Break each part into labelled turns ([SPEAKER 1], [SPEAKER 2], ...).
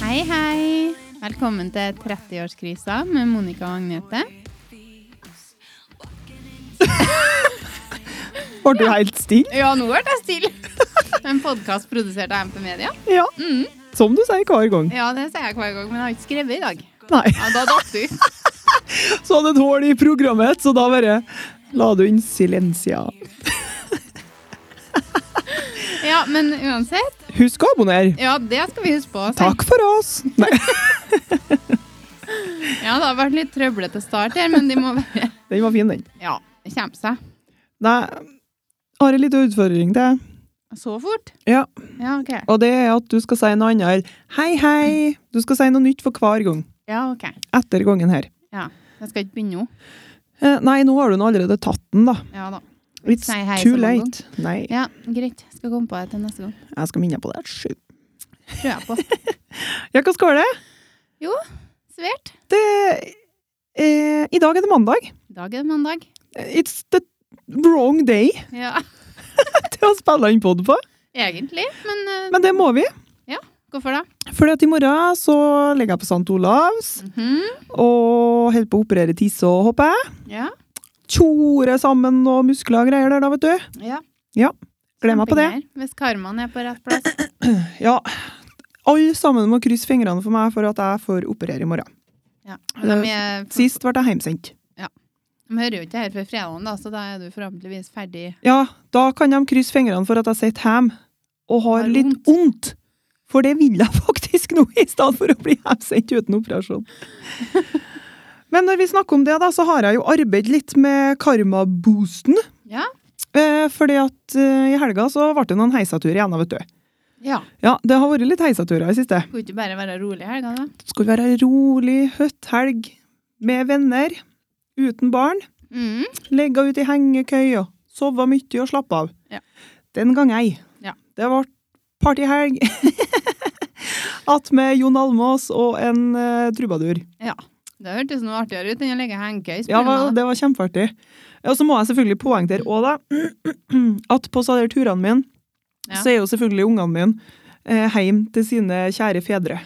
[SPEAKER 1] Hei, hei. Velkommen til 30-årskrisa med Monica og Agnete.
[SPEAKER 2] Var du helt stille?
[SPEAKER 1] Ja, nå ble jeg stille. En podkast produsert av MP Media.
[SPEAKER 2] Ja.
[SPEAKER 1] Mm.
[SPEAKER 2] Som du sier hver gang.
[SPEAKER 1] Ja, det sier jeg hver gang, men jeg har ikke skrevet i dag.
[SPEAKER 2] Nei.
[SPEAKER 1] Ja, da datt du.
[SPEAKER 2] Så hadde et hull i programmet, så da bare la du inn silencia.
[SPEAKER 1] Ja, men uansett.
[SPEAKER 2] Husk å abonnere.
[SPEAKER 1] Ja, det skal vi huske på. altså. å si.
[SPEAKER 2] Takk for oss. Nei,
[SPEAKER 1] Ja, det har vært litt trøblete start her, men de må være
[SPEAKER 2] den var fin, den.
[SPEAKER 1] Ja, det kommer seg.
[SPEAKER 2] Nei, jeg har en liten utfordring til deg.
[SPEAKER 1] Så fort?
[SPEAKER 2] Ja,
[SPEAKER 1] Ja, OK.
[SPEAKER 2] og det er at du skal si noe annet enn hei, hei. Du skal si noe nytt for hver gang.
[SPEAKER 1] Ja, ok.
[SPEAKER 2] Etter gangen her.
[SPEAKER 1] Jeg skal ikke begynne nå.
[SPEAKER 2] Eh, Nei, nå har du nå allerede tatt den, da.
[SPEAKER 1] Ja da.
[SPEAKER 2] It's
[SPEAKER 1] Si hei så
[SPEAKER 2] too
[SPEAKER 1] mange
[SPEAKER 2] late. Nei,
[SPEAKER 1] Ja, greit. Skal komme på det til neste gang.
[SPEAKER 2] jeg skal minne på det. Sju.
[SPEAKER 1] Tror jeg på.
[SPEAKER 2] Ja, hva skal det?
[SPEAKER 1] Svært.
[SPEAKER 2] Det eh, I dag er det mandag.
[SPEAKER 1] I dag er det mandag.
[SPEAKER 2] It's the wrong day
[SPEAKER 1] Ja.
[SPEAKER 2] til å spille inn pod på.
[SPEAKER 1] Egentlig, men eh,
[SPEAKER 2] Men det må vi.
[SPEAKER 1] hvorfor da?
[SPEAKER 2] Fordi at i morgen så ligger jeg på St. Olavs
[SPEAKER 1] Mhm.
[SPEAKER 2] og holder på å operere tisse og hoppe.
[SPEAKER 1] Ja.
[SPEAKER 2] Tjore sammen og muskler og greier der, da, vet du.
[SPEAKER 1] ja.
[SPEAKER 2] Glem meg på det.
[SPEAKER 1] Kjempegreier, Hvis karmaen er på rett plass.
[SPEAKER 2] Ja. Alle sammen må krysse fingrene for meg for at jeg får operere i morgen.
[SPEAKER 1] Ja. De, er,
[SPEAKER 2] Sist ble jeg hjemsendt.
[SPEAKER 1] de hører jo ikke det her før fredagen, da, så da er du forhåpentligvis ferdig.
[SPEAKER 2] Ja, da kan de krysse fingrene for at jeg sitter hjemme og har
[SPEAKER 1] Har
[SPEAKER 2] litt
[SPEAKER 1] vondt.
[SPEAKER 2] vondt. For det vil jeg faktisk nå, i stedet for å bli hjemsendt uten operasjon. Men når vi snakker om det, da, så har jeg jo arbeidet litt med karmaboosten.
[SPEAKER 1] Ja.
[SPEAKER 2] Eh, fordi at eh, i helga så ble det noen heisaturer igjen, da, vet du.
[SPEAKER 1] Ja.
[SPEAKER 2] Ja, det har vært litt heisaturer i siste.
[SPEAKER 1] Skal ikke bare være rolig i helga, da?
[SPEAKER 2] Det skulle være en rolig høtthelg med venner, uten barn.
[SPEAKER 1] Mm.
[SPEAKER 2] Legge ut i hengekøya, sove mye og slappe av.
[SPEAKER 1] Ja.
[SPEAKER 2] Den gang ei.
[SPEAKER 1] Ja.
[SPEAKER 2] Det ble partyhelg. Att med Jon Almås og en eh, trubadur.
[SPEAKER 1] Det hørtes noe artigere ut enn å legge hengekøy.
[SPEAKER 2] Ja, hva- det var kjempeartig. Og så må jeg selvfølgelig poengtere òg, da, at på sånne her turene mine,
[SPEAKER 1] Ja.
[SPEAKER 2] så er jo selvfølgelig ungene mine eh, hjem til sine kjære fedre.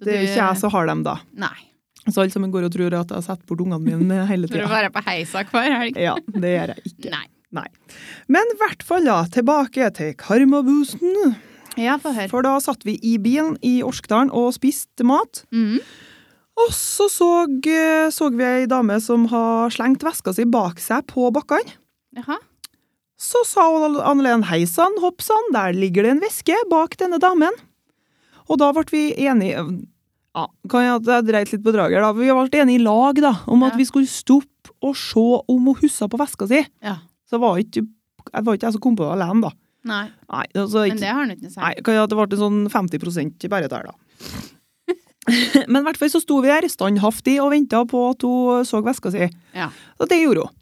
[SPEAKER 2] Det er jo ikke jeg som har dem, da.
[SPEAKER 1] Nei.
[SPEAKER 2] Så alle sammen går og tror at jeg setter bort ungene mine eh, hele
[SPEAKER 1] For å
[SPEAKER 2] tida.
[SPEAKER 1] være på heisa hver helg.
[SPEAKER 2] Ja, det gjør jeg ikke.
[SPEAKER 1] Nei.
[SPEAKER 2] Men i hvert fall, da. Tilbake til karmaboosten.
[SPEAKER 1] Ja, få høre.
[SPEAKER 2] For da satt vi i bilen i Orskdalen og spiste mat.
[SPEAKER 1] Mm.
[SPEAKER 2] Og så så, så vi ei dame som har slengt veska si bak seg på bakkene.
[SPEAKER 1] Jaha.
[SPEAKER 2] Så sa hun Annelen hei sann, hopp sann, der ligger det en veske bak denne damen. Og da ble vi enige ja, kan jeg, Jeg dreit litt på draget, da. Vi ble enige i lag da, om at
[SPEAKER 1] Ja.
[SPEAKER 2] vi skulle stoppe og se om hun huska på veska si.
[SPEAKER 1] Ja.
[SPEAKER 2] Så var ikke, jeg var ikke jeg som kom på det alene, da.
[SPEAKER 1] Nei.
[SPEAKER 2] Nei, altså,
[SPEAKER 1] Men
[SPEAKER 2] ikke,
[SPEAKER 1] det har han ikke noe å si.
[SPEAKER 2] Nei, kan jeg, det ble en sånn 50 bare der, da. Men i hvert fall så sto vi der standhaftig og venta på at hun så veska si.
[SPEAKER 1] Ja.
[SPEAKER 2] Og det gjorde hun.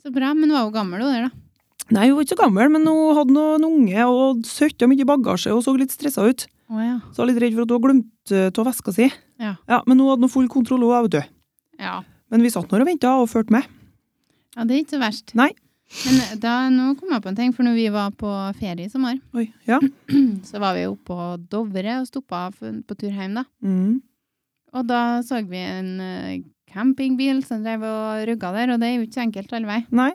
[SPEAKER 1] Så bra. Men hun var jo gammel, hun der, da.
[SPEAKER 2] Nei, hun var ikke så gammel, men hun hadde noen unge og søkte mye bagasje og så litt stressa ut.
[SPEAKER 1] Å ja.
[SPEAKER 2] Så jeg var litt redd for at hun glemte av veska si.
[SPEAKER 1] Ja.
[SPEAKER 2] Men hun hadde nå full kontroll, hun, vet du.
[SPEAKER 1] Ja.
[SPEAKER 2] Men vi satt nå og venta og fulgte med.
[SPEAKER 1] Ja, det er ikke så verst.
[SPEAKER 2] Nei.
[SPEAKER 1] Men da, nå kom jeg på en ting, for når vi var på ferie i sommer,
[SPEAKER 2] Oi, ja.
[SPEAKER 1] så var vi jo på Dovre og stoppa f- på tur hjem, da.
[SPEAKER 2] Mm.
[SPEAKER 1] Og da så vi en eh, campingbil som drev og rugga der, og det er jo ikke så enkelt alle vei.
[SPEAKER 2] Nei.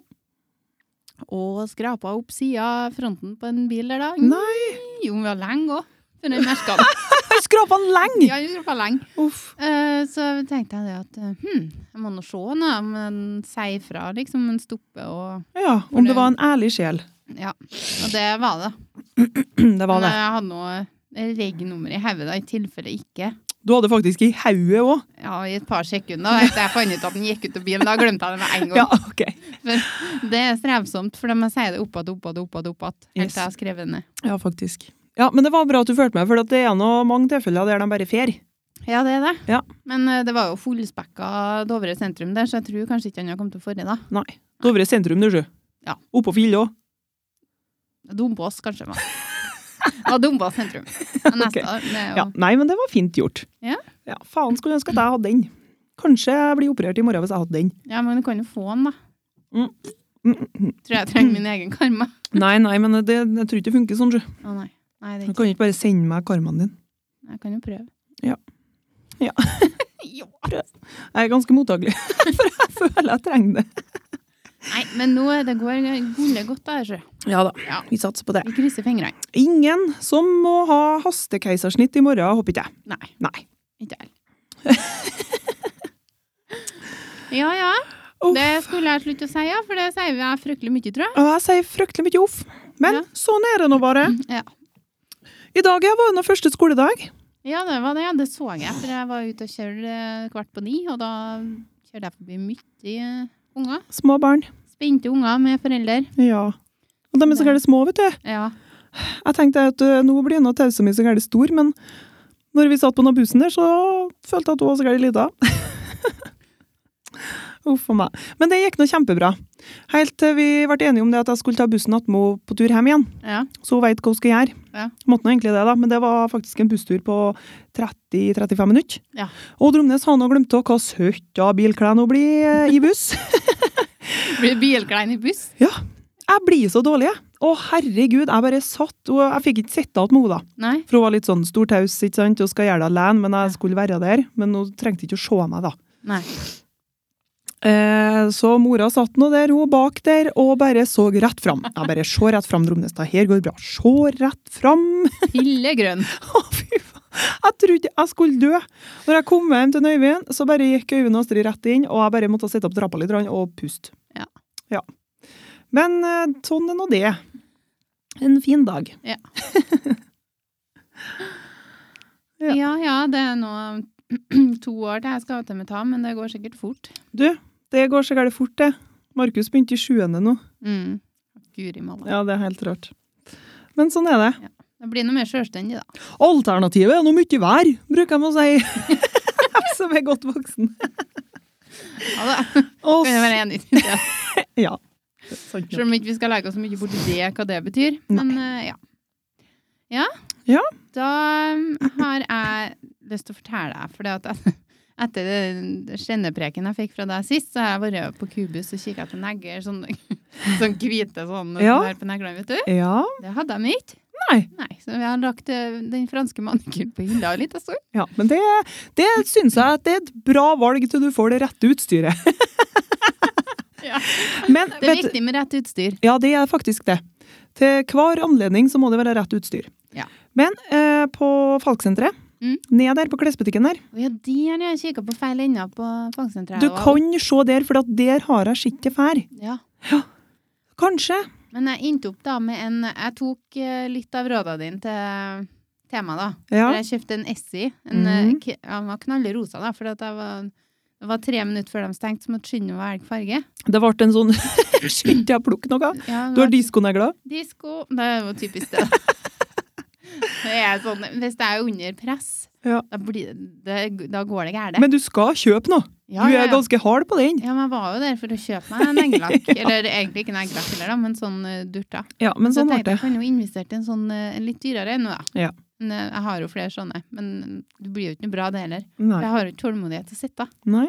[SPEAKER 1] Og skrapa opp sida av fronten på en bil der, da.
[SPEAKER 2] Nei!
[SPEAKER 1] Jo, vi var lenge òg. For den merka den.
[SPEAKER 2] Jeg skrapa den lenge!
[SPEAKER 1] Ja, vi skrapa lenge.
[SPEAKER 2] Uff.
[SPEAKER 1] Eh, så tenkte jeg det at eh, hm, jeg må nå se nå om den sier fra, liksom. Den stopper og
[SPEAKER 2] Ja, om det var en ærlig sjel.
[SPEAKER 1] Ja. Og det var det.
[SPEAKER 2] Det var det.
[SPEAKER 1] Men jeg hadde noe eh, regnummer i hodet, da, i tilfelle ikke.
[SPEAKER 2] Du hadde faktisk i hodet òg.
[SPEAKER 1] Ja, i et par sekunder. Etter jeg fant ut at den gikk ut av bilen, da glemte jeg det med en gang.
[SPEAKER 2] Ja, OK.
[SPEAKER 1] Det er strevsomt, for da må jeg si det oppad, oppad, oppad, oppad. Helt
[SPEAKER 2] Yes.
[SPEAKER 1] til jeg har skrevet det ned.
[SPEAKER 2] Ja, faktisk. Ja, Men det var bra at du fulgte med, for at det er nå mange tilfeller der de bare fer.
[SPEAKER 1] Ja, det er det.
[SPEAKER 2] Ja.
[SPEAKER 1] Men eh, det var jo fullspekka Dovre sentrum der, så jeg tror kanskje ikke han har kommet til forrige, da.
[SPEAKER 2] Nei. Dovre sentrum, du, sjø.
[SPEAKER 1] Ja.
[SPEAKER 2] Oppå Fille òg.
[SPEAKER 1] Dombås, kanskje. Men. Ja, Dombås sentrum. Men Neste,
[SPEAKER 2] Ok.
[SPEAKER 1] det er jo
[SPEAKER 2] Ja. Nei, men det var fint gjort.
[SPEAKER 1] Ja.
[SPEAKER 2] ja. Faen, skulle ønske at jeg hadde den. Kanskje jeg blir operert i morgen hvis jeg hadde den.
[SPEAKER 1] ja, men du kan jo få den, da.
[SPEAKER 2] Mm, mm, mm.
[SPEAKER 1] Tror jeg trenger min egen karma.
[SPEAKER 2] Nei, nei, men det, jeg tror ikke det funker sånn, sjø.
[SPEAKER 1] Å nei. Nei, det er
[SPEAKER 2] Du kan
[SPEAKER 1] ikke
[SPEAKER 2] ikke bare sende meg karmaen din.
[SPEAKER 1] Jeg kan jo prøve.
[SPEAKER 2] Ja. Ja.
[SPEAKER 1] Jo.
[SPEAKER 2] Jeg er ganske mottagelig, for jeg føler jeg trenger det.
[SPEAKER 1] Nei, men nå er det går gullet godt, da. Ikke?
[SPEAKER 2] Ja da,
[SPEAKER 1] Ja.
[SPEAKER 2] vi satser på det.
[SPEAKER 1] Vi krysser fingrene.
[SPEAKER 2] Ingen som må ha hastekeisersnitt i morgen, håper ikke jeg.
[SPEAKER 1] Nei,
[SPEAKER 2] Nei.
[SPEAKER 1] ikke jeg. ja ja.
[SPEAKER 2] Uff.
[SPEAKER 1] Det skulle jeg slutte å si, ja, for det sier vi jeg fryktelig mye, tror jeg.
[SPEAKER 2] Og jeg sier fryktelig mye off, men
[SPEAKER 1] Ja. Mm.
[SPEAKER 2] sånn er det nå bare.
[SPEAKER 1] Ja.
[SPEAKER 2] I dag ja, var det nå første skoledag.
[SPEAKER 1] ja, det var det. ja. Det så jeg, for jeg var ute og kjørte eh, kvart på ni, og da kjørte jeg forbi mye eh, unger.
[SPEAKER 2] Små barn.
[SPEAKER 1] Spente unger med foreldre.
[SPEAKER 2] Ja. Og de er så
[SPEAKER 1] Det-
[SPEAKER 2] gærent små, vet du.
[SPEAKER 1] Ja.
[SPEAKER 2] Jeg tenkte at ø, nå blir nå tausa mi så gærent stor, men når vi satt på den bussen der, så følte jeg at hun var så gærent lita. Uff a meg. Men det gikk nå kjempebra. Helt til vi ble enige om det at jeg skulle ta bussen attmed på tur hjem igjen.
[SPEAKER 1] ja.
[SPEAKER 2] Så hun veit hva hun skal gjøre.
[SPEAKER 1] Ja.
[SPEAKER 2] Måtte nå egentlig det, da, men det var faktisk en busstur på 30-35 minutter.
[SPEAKER 1] Ja.
[SPEAKER 2] Og Dromnes har nå glemt av hva søtta bilklær nå blir ø, eh, i buss.
[SPEAKER 1] Blir bilklein i buss?
[SPEAKER 2] Jeg blir så dårlig, jeg. Å, herregud, jeg bare satt og jeg fikk ikke sitte igjen med henne, da.
[SPEAKER 1] Nei.
[SPEAKER 2] For hun var litt sånn stor taus, ikke sant, og skal gjøre det alene, men jeg skulle være der. Men hun trengte ikke å se meg, da.
[SPEAKER 1] Nei.
[SPEAKER 2] Eh, så mora satt nå der, hun bak der, og bare så rett fram. Jeg bare se rett fram, Dromnes, det her går bra. Se rett fram.
[SPEAKER 1] Pillegrønn.
[SPEAKER 2] Å, fy faen. Jeg trodde jeg skulle dø. Når jeg kom hjem til Øyvind, så bare gikk Øyvind og Astrid rett inn, og jeg bare måtte sitte opp trappa litt grann og puste.
[SPEAKER 1] Ja.
[SPEAKER 2] Ja. Men eh, sånn er nå det. En fin dag. Ja.
[SPEAKER 1] Ja ja, det er nå to år til jeg skal til med tam, men det går sikkert fort.
[SPEAKER 2] Du, det går så gærent fort, det. Markus begynte i sjuende nå.
[SPEAKER 1] Mm. Guri malla.
[SPEAKER 2] Ja, det er helt rart. Men sånn er det.
[SPEAKER 1] Det blir noe mer sjølstendig, da.
[SPEAKER 2] Alternativet er noe mye vær, bruker jeg å si. Som er godt voksen.
[SPEAKER 1] Ja da.
[SPEAKER 2] Og
[SPEAKER 1] Kan jeg være enig i det?
[SPEAKER 2] Ja. Sant, ja.
[SPEAKER 1] Selv om ikke vi ikke skal legge oss så mye borti det, hva det betyr. Men eh, ja. Ja.
[SPEAKER 2] Ja.
[SPEAKER 1] Da um, har jeg lyst til å fortelle deg, for at etter det kjennepreken jeg fikk fra deg sist, så har jeg vært på kubus og kikka på negler, sånn, sånn hvite sånn
[SPEAKER 2] Ja.
[SPEAKER 1] der på neglene, vet du.
[SPEAKER 2] ja.
[SPEAKER 1] Det hadde de ikke.
[SPEAKER 2] Nei.
[SPEAKER 1] Nei, så vi har lagt eh, den franske manikyren på hylla sånn. en liten stund.
[SPEAKER 2] Ja, men det, det syns jeg at det er et bra valg til du får det rette utstyret.
[SPEAKER 1] Ja.
[SPEAKER 2] Men
[SPEAKER 1] Det er
[SPEAKER 2] vet du,
[SPEAKER 1] viktig med rett utstyr.
[SPEAKER 2] ja, det er faktisk det. Til hver anledning så må det være rett utstyr.
[SPEAKER 1] Ja.
[SPEAKER 2] Men eh, på Falksenteret,
[SPEAKER 1] Mm.
[SPEAKER 2] ned der på klesbutikken der,
[SPEAKER 1] Å ja, der har jeg kikka på feil ende på fagsenteret.
[SPEAKER 2] du
[SPEAKER 1] Og-
[SPEAKER 2] kan se der, for at der har jeg sett det før.
[SPEAKER 1] Ja.
[SPEAKER 2] Kanskje.
[SPEAKER 1] Men jeg endte opp da med en Jeg tok eh, litt av rådene dine til temaet, da.
[SPEAKER 2] Ja.
[SPEAKER 1] For jeg kjøpte en Essie. En, eh,
[SPEAKER 2] Mhm.
[SPEAKER 1] k- Han var knallerosa, da, for at jeg var det var tre minutter før de stengte, så måtte skynde meg å velge farge.
[SPEAKER 2] Det ble en sånn Skynd deg å plukke noe.
[SPEAKER 1] Ja, det
[SPEAKER 2] Du
[SPEAKER 1] var
[SPEAKER 2] har diskonegler.
[SPEAKER 1] Disko Det er jo typisk det. da. det er sånn, hvis det er under press,
[SPEAKER 2] Ja.
[SPEAKER 1] da, blir det, det, da går det gærent.
[SPEAKER 2] Men du skal kjøpe noe. Du
[SPEAKER 1] Ja, ja,
[SPEAKER 2] er
[SPEAKER 1] ja.
[SPEAKER 2] ganske hard på den.
[SPEAKER 1] Ja, men jeg var jo der for å kjøpe meg en eggelakk. Eller egentlig ikke en eggelakk heller, da, men sånn eh, durta.
[SPEAKER 2] Ja, men
[SPEAKER 1] Så
[SPEAKER 2] sånn ble
[SPEAKER 1] jeg tenkte
[SPEAKER 2] det.
[SPEAKER 1] jeg kan jo investere i en sånn eh, en litt dyrere en nå, da.
[SPEAKER 2] Ja.
[SPEAKER 1] Men, eh, Jeg har jo flere sånne, men det blir jo ikke noe bra det heller. For
[SPEAKER 2] Nei.
[SPEAKER 1] Jeg har jo ikke tålmodighet til å sitte.
[SPEAKER 2] Nei.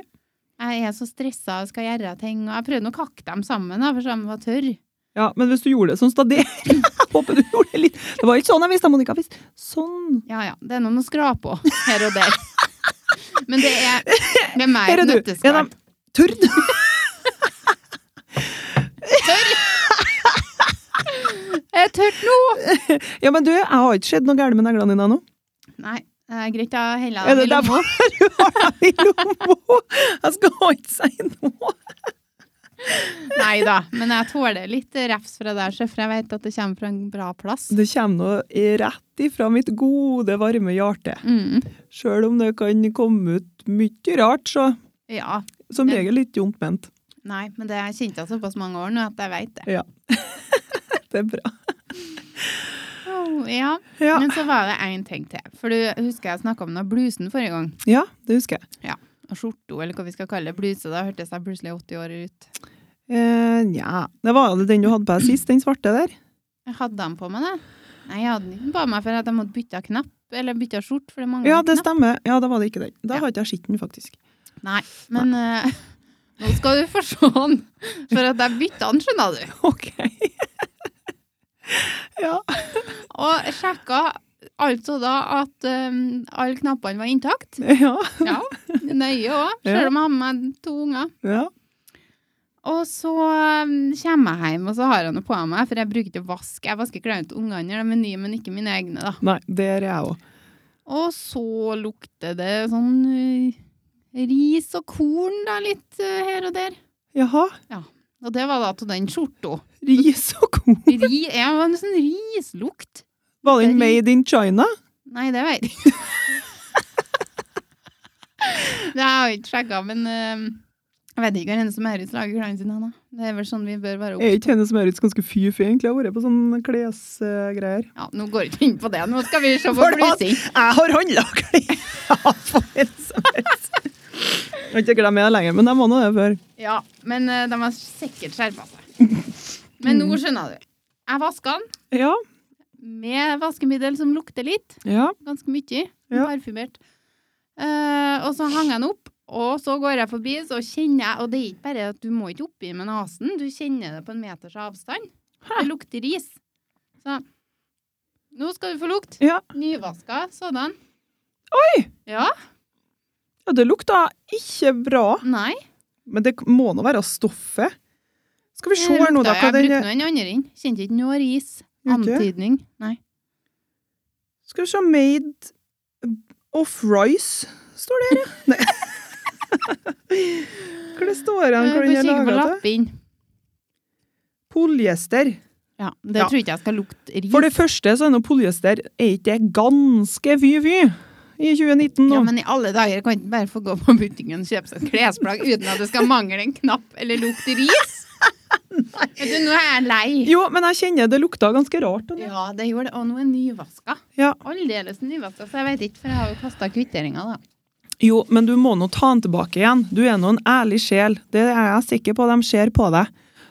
[SPEAKER 1] Jeg er så stressa og skal gjøre ting. Og jeg prøvde nå å kakke dem sammen, da, for så de var tørre.
[SPEAKER 2] Ja, men hvis du gjorde det sånn stadig Jeg håper du gjorde det litt Det var ikke sånn jeg visste, Monica. Jeg visste. Sånn.
[SPEAKER 1] Ja ja, det er noen å skrape på her og der. Men det er, det er mer
[SPEAKER 2] Her er
[SPEAKER 1] et
[SPEAKER 2] du.
[SPEAKER 1] nøtteskall.
[SPEAKER 2] Er de tørr?
[SPEAKER 1] Jeg er tørt nå!
[SPEAKER 2] Ja, men du, jeg har ikke sett noe galt med neglene dine ennå.
[SPEAKER 1] Nei, det er greit, jeg heller
[SPEAKER 2] Er
[SPEAKER 1] dem i
[SPEAKER 2] det
[SPEAKER 1] lomma.
[SPEAKER 2] Du har dem i lomma! Jeg skal ikke si noe.
[SPEAKER 1] Nei da, men jeg tåler litt refs fra deg, sjef, for jeg vet at det kommer fra en bra plass.
[SPEAKER 2] Det kommer nå i- rett ifra mitt gode, varme hjerte.
[SPEAKER 1] Mm.
[SPEAKER 2] Sjøl om det kan komme ut mye rart, så
[SPEAKER 1] Ja.
[SPEAKER 2] som regel litt vondt ment.
[SPEAKER 1] Nei, men det jeg kjente jeg såpass mange år nå at jeg vet det.
[SPEAKER 2] Det er bra.
[SPEAKER 1] Åh, Oh, ja.
[SPEAKER 2] Ja.
[SPEAKER 1] Men så var det én ting til. For du husker jeg snakka om den blusen forrige gang.
[SPEAKER 2] ja, det husker jeg.
[SPEAKER 1] Og skjorta, eller hva vi skal kalle det. Bluse. Da hørtes jeg plutselig 80 år ut.
[SPEAKER 2] Eh, Nja, det var jo den du hadde på deg sist, den svarte der.
[SPEAKER 1] Jeg hadde den på meg, da. Nei, jeg hadde den ikke på meg for at jeg måtte bytte knapp. Eller bytte skjort, for det mangler
[SPEAKER 2] Ja,
[SPEAKER 1] en
[SPEAKER 2] det
[SPEAKER 1] knapp.
[SPEAKER 2] stemmer. Ja, da var det ikke den. Da
[SPEAKER 1] Ja.
[SPEAKER 2] har ikke jeg sett den, faktisk.
[SPEAKER 1] Nei, men eh, nå skal du få se den. For at jeg bytta den, skjønner du.
[SPEAKER 2] Ok. Ja.
[SPEAKER 1] Og sjekka altså da at um, alle knappene var intakt.
[SPEAKER 2] Ja.
[SPEAKER 1] Ja, Nøye òg, selv om jeg hadde med to unger.
[SPEAKER 2] ja.
[SPEAKER 1] Og så um, kommer jeg hjem, og så har jeg noe på meg, for jeg bruker ikke vask. Jeg vasker klærne til ungene når de er nye, men ikke mine egne, da.
[SPEAKER 2] Nei, der er jeg òg.
[SPEAKER 1] Og så lukter det sånn eh, ris og korn da, litt eh, her og der.
[SPEAKER 2] Jaha.
[SPEAKER 1] Og det var da til den skjorta.
[SPEAKER 2] Ris og korn.
[SPEAKER 1] Ri, ja, det var en sånn rislukt.
[SPEAKER 2] Var den
[SPEAKER 1] Ri-
[SPEAKER 2] made in China?
[SPEAKER 1] Nei, det vet jeg ikke. det har jeg ikke sjekka, men eh, jeg vet ikke hva hennes Maurits lager klærne sine. Anna. Det er vel sånn vi bør være
[SPEAKER 2] Er
[SPEAKER 1] opp.
[SPEAKER 2] ikke Hennes Maurits ganske fy-fy, egentlig? Jeg har vært på sånne klesgreier.
[SPEAKER 1] Ja, nå går jeg ikke inn på det. Nå skal vi se på
[SPEAKER 2] For at-
[SPEAKER 1] blusing.
[SPEAKER 2] Jeg har handla klær for Hennes Maurits! Jeg har ikke glemt det lenger, men jeg må nå det før.
[SPEAKER 1] Ja, men eh, de har sikkert skjerpa seg. Men nå skjønner du. Jeg vaska den
[SPEAKER 2] Ja.
[SPEAKER 1] med vaskemiddel som lukter litt.
[SPEAKER 2] Ja.
[SPEAKER 1] ganske mye.
[SPEAKER 2] Ja.
[SPEAKER 1] Parfymert. Eh, og så hang jeg den opp, og så går jeg forbi, så kjenner jeg Og det er ikke bare at du må ikke oppi med nesen, du kjenner det på en meters avstand. Det lukter ris. Så Nå skal du få lukt.
[SPEAKER 2] Ja.
[SPEAKER 1] Nyvaska sådan.
[SPEAKER 2] Oi!
[SPEAKER 1] Ja.
[SPEAKER 2] ja, det lukta ikke bra.
[SPEAKER 1] Nei.
[SPEAKER 2] Men det må nå være stoffet. Skal vi se
[SPEAKER 1] det
[SPEAKER 2] her nå,
[SPEAKER 1] lukta-
[SPEAKER 2] da. Hva
[SPEAKER 1] Jeg
[SPEAKER 2] den
[SPEAKER 1] brukte nå en andre inn. Kjente ikke noe ris.
[SPEAKER 2] Gjorde ikke?
[SPEAKER 1] Antydning. Nei.
[SPEAKER 2] Skal vi se Made of rice, står det her, ja. Nei. Hva det
[SPEAKER 1] Eh,
[SPEAKER 2] står det? Hvor den
[SPEAKER 1] Bare
[SPEAKER 2] er
[SPEAKER 1] kikke på
[SPEAKER 2] laga til?
[SPEAKER 1] lappen.
[SPEAKER 2] Polyester.
[SPEAKER 1] Ja, det
[SPEAKER 2] Ja.
[SPEAKER 1] tror ikke jeg skal lukte ris.
[SPEAKER 2] For det første så er nå polyester Er ikke det ganske fy-fy i 2019 nå?
[SPEAKER 1] Ja, men i alle dager kan ikke bare få gå på butikken og kjøpe seg et klesplagg uten at det skal mangle en knapp eller lukte ris. Vet du, nå er jeg lei.
[SPEAKER 2] Jo, men jeg kjenner det lukta ganske rart. da.
[SPEAKER 1] Ja, det gjorde det. Og nå er nyvaska.
[SPEAKER 2] Ja.
[SPEAKER 1] Aldeles nyvaska, så jeg vet ikke, for jeg har jo kasta kvitteringa, da.
[SPEAKER 2] Jo, men du må nå ta den tilbake igjen. Du er nå en ærlig sjel. Det er jeg sikker på, de ser på deg.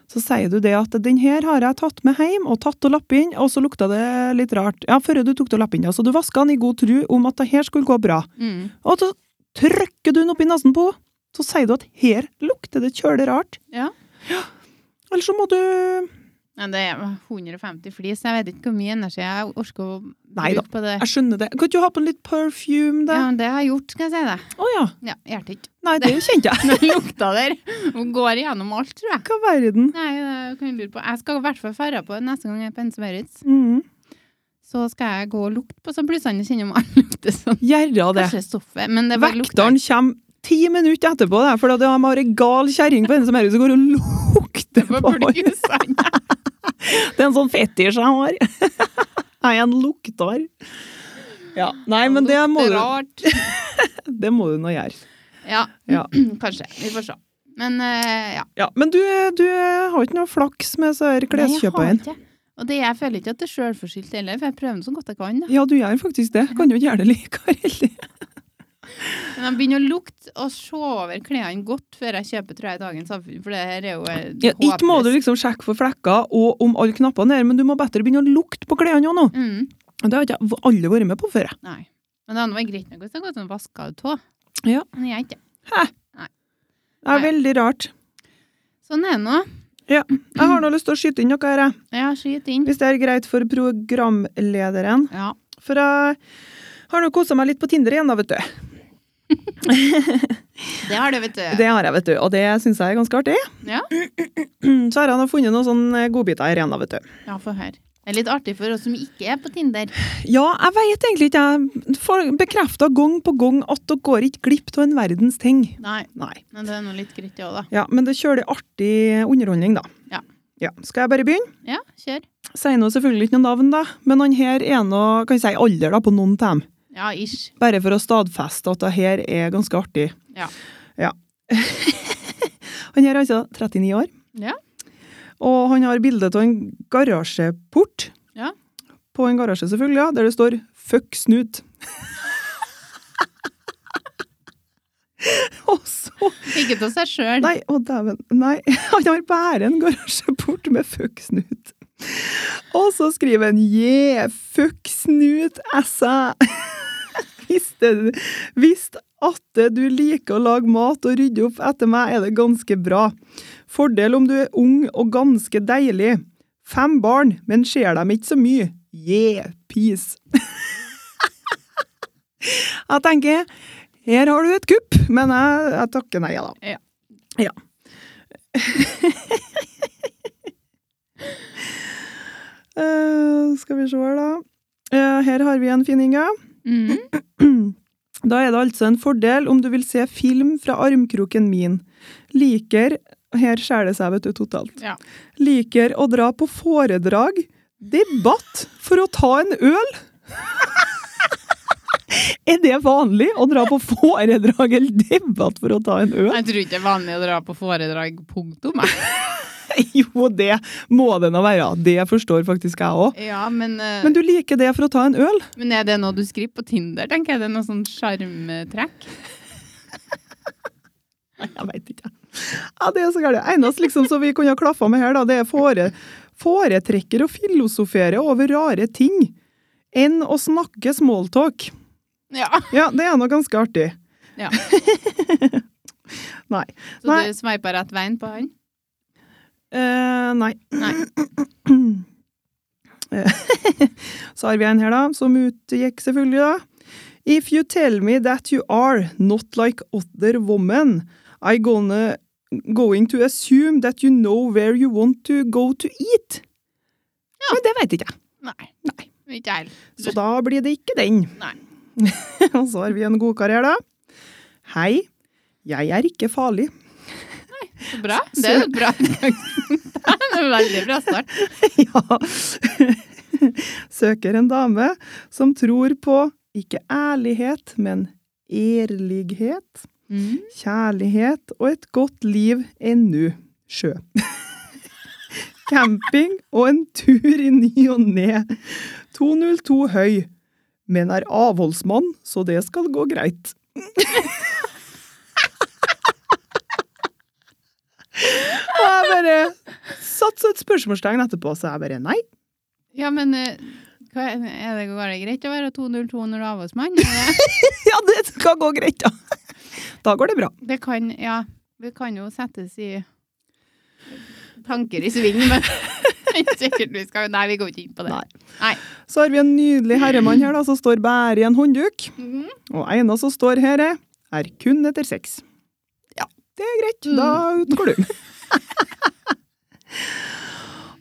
[SPEAKER 2] Så sier du det at den her har jeg tatt med hjem og tatt og lappet inn, og så lukta det litt rart. Ja, før du tok det og lappet inn, ja. Så du vaska den i god tru om at det her skulle gå bra.
[SPEAKER 1] Mm.
[SPEAKER 2] Og så trykker du den oppi nesen på, så sier du at her lukter det kjølig rart.
[SPEAKER 1] Ja.
[SPEAKER 2] Eller så må du
[SPEAKER 1] Men det er 150 flis, jeg vet ikke hvor mye energi jeg orker å
[SPEAKER 2] Nei da.
[SPEAKER 1] bruke på det.
[SPEAKER 2] Jeg skjønner det. Kan ikke du ha på litt perfume,
[SPEAKER 1] Ja,
[SPEAKER 2] da?
[SPEAKER 1] men det har jeg gjort, skal jeg si deg.
[SPEAKER 2] Å ja.
[SPEAKER 1] Ja, hjertet ikke.
[SPEAKER 2] Nei, det kjente jeg.
[SPEAKER 1] Den lukta der. Hun går igjennom alt, tror jeg.
[SPEAKER 2] Hva verden.
[SPEAKER 1] Nei, det kan jeg lure på. Jeg skal i hvert fall ferde på det neste gang jeg er på Hennes Maurits.
[SPEAKER 2] Mm.
[SPEAKER 1] så skal jeg gå og lukte på sånn plutselig kjenner man lukter sånn.
[SPEAKER 2] Gjerra det.
[SPEAKER 1] Kanskje stoffet, men det bare lukter.
[SPEAKER 2] Vekteren kommer ti minutter etterpå, det, for det har vært ei gal kjerring på henne som er ute og går og lukter
[SPEAKER 1] på
[SPEAKER 2] på meg.
[SPEAKER 1] blusene.
[SPEAKER 2] Det er en sånn fetisj jeg har. Jeg er en lukter. Ja, nei, men det må,
[SPEAKER 1] Lukter
[SPEAKER 2] du,
[SPEAKER 1] Rart.
[SPEAKER 2] det må du nå gjøre.
[SPEAKER 1] Ja,
[SPEAKER 2] Ja.
[SPEAKER 1] kanskje. Vi får se. Men eh, ja.
[SPEAKER 2] Ja, men du, du har ikke noe flaks med så her
[SPEAKER 1] Nei, jeg har
[SPEAKER 2] kleskjøpene.
[SPEAKER 1] ikke. Og det, jeg føler ikke at det er sjølforskyldt heller, for jeg prøver så godt jeg kan. Da.
[SPEAKER 2] Ja, du gjør faktisk det. Kan jo ikke gjøre det likevel. heller.
[SPEAKER 1] Men jeg begynner å lukte og se over klærne godt før jeg kjøper tror jeg, i dagens samfunn, for det her er jo eh,
[SPEAKER 2] Ja, ikke må du
[SPEAKER 1] håpløst.
[SPEAKER 2] liksom sjekke for flekker og om alle knappene er, men du må bedre begynne å lukte på klærne òg nå.
[SPEAKER 1] Mm,
[SPEAKER 2] Det har ikke jeg alle vært med på før. jeg.
[SPEAKER 1] nei. Men det andre var greit nok hvis jeg hadde gått sånn vaska ut tå.
[SPEAKER 2] Ja.
[SPEAKER 1] Men jeg er ikke.
[SPEAKER 2] Det er
[SPEAKER 1] Nei.
[SPEAKER 2] veldig rart.
[SPEAKER 1] Sånn er det nå.
[SPEAKER 2] Jeg har nå lyst til å skyte inn noe her, jeg.
[SPEAKER 1] Ja, skyt inn.
[SPEAKER 2] Hvis det er greit for programlederen.
[SPEAKER 1] Ja.
[SPEAKER 2] For jeg har nå kosa meg litt på Tinder igjen, da, vet du.
[SPEAKER 1] Det har du, vet du.
[SPEAKER 2] Det har jeg, vet du. Og det syns jeg er ganske artig.
[SPEAKER 1] Ja.
[SPEAKER 2] Så har jeg nå funnet noen sånne godbiter her igjen, da, vet du.
[SPEAKER 1] Ja, få høre. Det er litt artig for oss som ikke er på Tinder.
[SPEAKER 2] Ja, jeg veit egentlig ikke, jeg. Får bekrefta gang på gang at dere går ikke glipp av en verdens ting.
[SPEAKER 1] Nei,
[SPEAKER 2] Nei.
[SPEAKER 1] men det er noe litt greit, det òg, da.
[SPEAKER 2] Ja, men det kjører artig underholdning, da.
[SPEAKER 1] Ja.
[SPEAKER 2] ja. Skal jeg bare begynne?
[SPEAKER 1] Ja, kjør.
[SPEAKER 2] Sier nå selvfølgelig ikke noe navn, da. Men han her er nå, kan jeg si, alder da, på noen av dem.
[SPEAKER 1] Ja, ish.
[SPEAKER 2] Bare for å stadfeste at det her er ganske artig.
[SPEAKER 1] Ja.
[SPEAKER 2] Ja. han her er altså 39 år,
[SPEAKER 1] Ja.
[SPEAKER 2] og han har bilde av en garasjeport.
[SPEAKER 1] Ja.
[SPEAKER 2] På en garasje, selvfølgelig, ja, der det står 'fuck snut'. og så
[SPEAKER 1] Ikke til seg sjøl.
[SPEAKER 2] Nei, å dæven. Nei, han har bare en garasjeport med fuck snut. Og så skriver han 'yeah, fuck snut, essa'. Visste du- Visst atte du liker å lage mat og rydde opp etter meg, er det ganske bra. Fordel om du er ung og ganske deilig. Fem barn, men ser dem ikke så mye. Yeah, peace. jeg tenker, her har du et kupp, men jeg, jeg takker nei, da.
[SPEAKER 1] Ja.
[SPEAKER 2] Ja. Eh, skal vi se her, da. Eh, her har vi en fin, Inga.
[SPEAKER 1] Mm.
[SPEAKER 2] Da er det altså en fordel om du vil se film fra armkroken min. Liker Her skjærer det seg, vet du, totalt.
[SPEAKER 1] Ja.
[SPEAKER 2] Liker å dra på foredrag, debatt, for å ta en øl. er det vanlig å dra på foredrag eller debatt for å ta en øl?
[SPEAKER 1] Jeg tror ikke det er vanlig å dra på foredrag, punktum. jeg.
[SPEAKER 2] Jo, det må det nå være. Det forstår faktisk jeg òg.
[SPEAKER 1] Ja, men, eh,
[SPEAKER 2] Men du liker det for å ta en øl?
[SPEAKER 1] men er det noe du skriver på Tinder, tenker jeg? Det er noe sånn sjarmtrekk?
[SPEAKER 2] Nei, jeg veit ikke. Ja, det er så gærent. Eneste liksom, som vi kunne ha klaffa med her, da, det er fore, foretrekker å filosofere over rare ting enn å snakke smalltalk.
[SPEAKER 1] Ja.
[SPEAKER 2] Ja, det er nå ganske artig.
[SPEAKER 1] Ja.
[SPEAKER 2] nei.
[SPEAKER 1] Så
[SPEAKER 2] Nei.
[SPEAKER 1] du sveipa rett veien på han?
[SPEAKER 2] Eh, nei.
[SPEAKER 1] Nei.
[SPEAKER 2] Eh, så har vi en her, da, som utgikk selvfølgelig, da. If you tell me that you are not like other women, I gonna going to assume that you know where you want to go to eat. Men det veit ikke jeg.
[SPEAKER 1] Nei.
[SPEAKER 2] Nei.
[SPEAKER 1] Ikke jeg heller.
[SPEAKER 2] Så da blir det ikke den.
[SPEAKER 1] Nei.
[SPEAKER 2] Og så har vi en godkar her, da. Hei, jeg er ikke farlig.
[SPEAKER 1] Så bra. Det er jo et bra utgangspunkt. Det er en veldig bra start.
[SPEAKER 2] Ja. Søker en dame som tror på ikke ærlighet, men ærlighet,
[SPEAKER 1] Mm.
[SPEAKER 2] kjærlighet og et godt liv ennu. Sjø. Camping og en tur i ny og ne. 202 høy, men er avholdsmann, så det skal gå greit. Og jeg bare satte så et spørsmålstegn etterpå, så jeg bare nei.
[SPEAKER 1] Ja, men eh, hva, er er det, går det greit å være 202 når du er avholdsmann? Er det-
[SPEAKER 2] Ja, det skal gå greit, da. Da går det bra.
[SPEAKER 1] Det kan, ja, det kan jo settes i tanker i sving, men sikkert vi skal Nei, vi går ikke inn på det.
[SPEAKER 2] Nei. Så har vi en nydelig herremann her da, som står bare i en håndduk.
[SPEAKER 1] Mhm.
[SPEAKER 2] Og ena som står her, er er kun etter sex. Ja, Mm. det er greit. Da utgår du.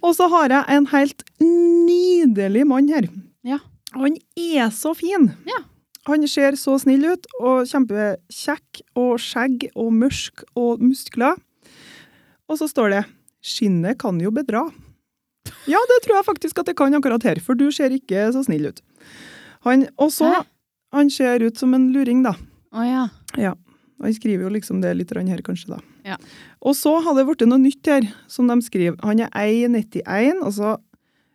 [SPEAKER 2] Og så har jeg en helt nydelig mann her.
[SPEAKER 1] Ja.
[SPEAKER 2] Han er så fin.
[SPEAKER 1] Ja.
[SPEAKER 2] Han ser så snill ut, og kjempekjekk, og skjegg, og mørk, og muskler. Og så står det 'Skinnet kan jo bedra'. Ja, det tror jeg faktisk at det kan akkurat her, for du ser ikke så snill ut. Han, og så,
[SPEAKER 1] Hæ?
[SPEAKER 2] han ser ut som en luring, da.
[SPEAKER 1] Å ja.
[SPEAKER 2] Han skriver jo liksom det litt grann her, kanskje, da.
[SPEAKER 1] Ja.
[SPEAKER 2] Og så har det blitt noe nytt her, som de skriver. Han er 1,91, altså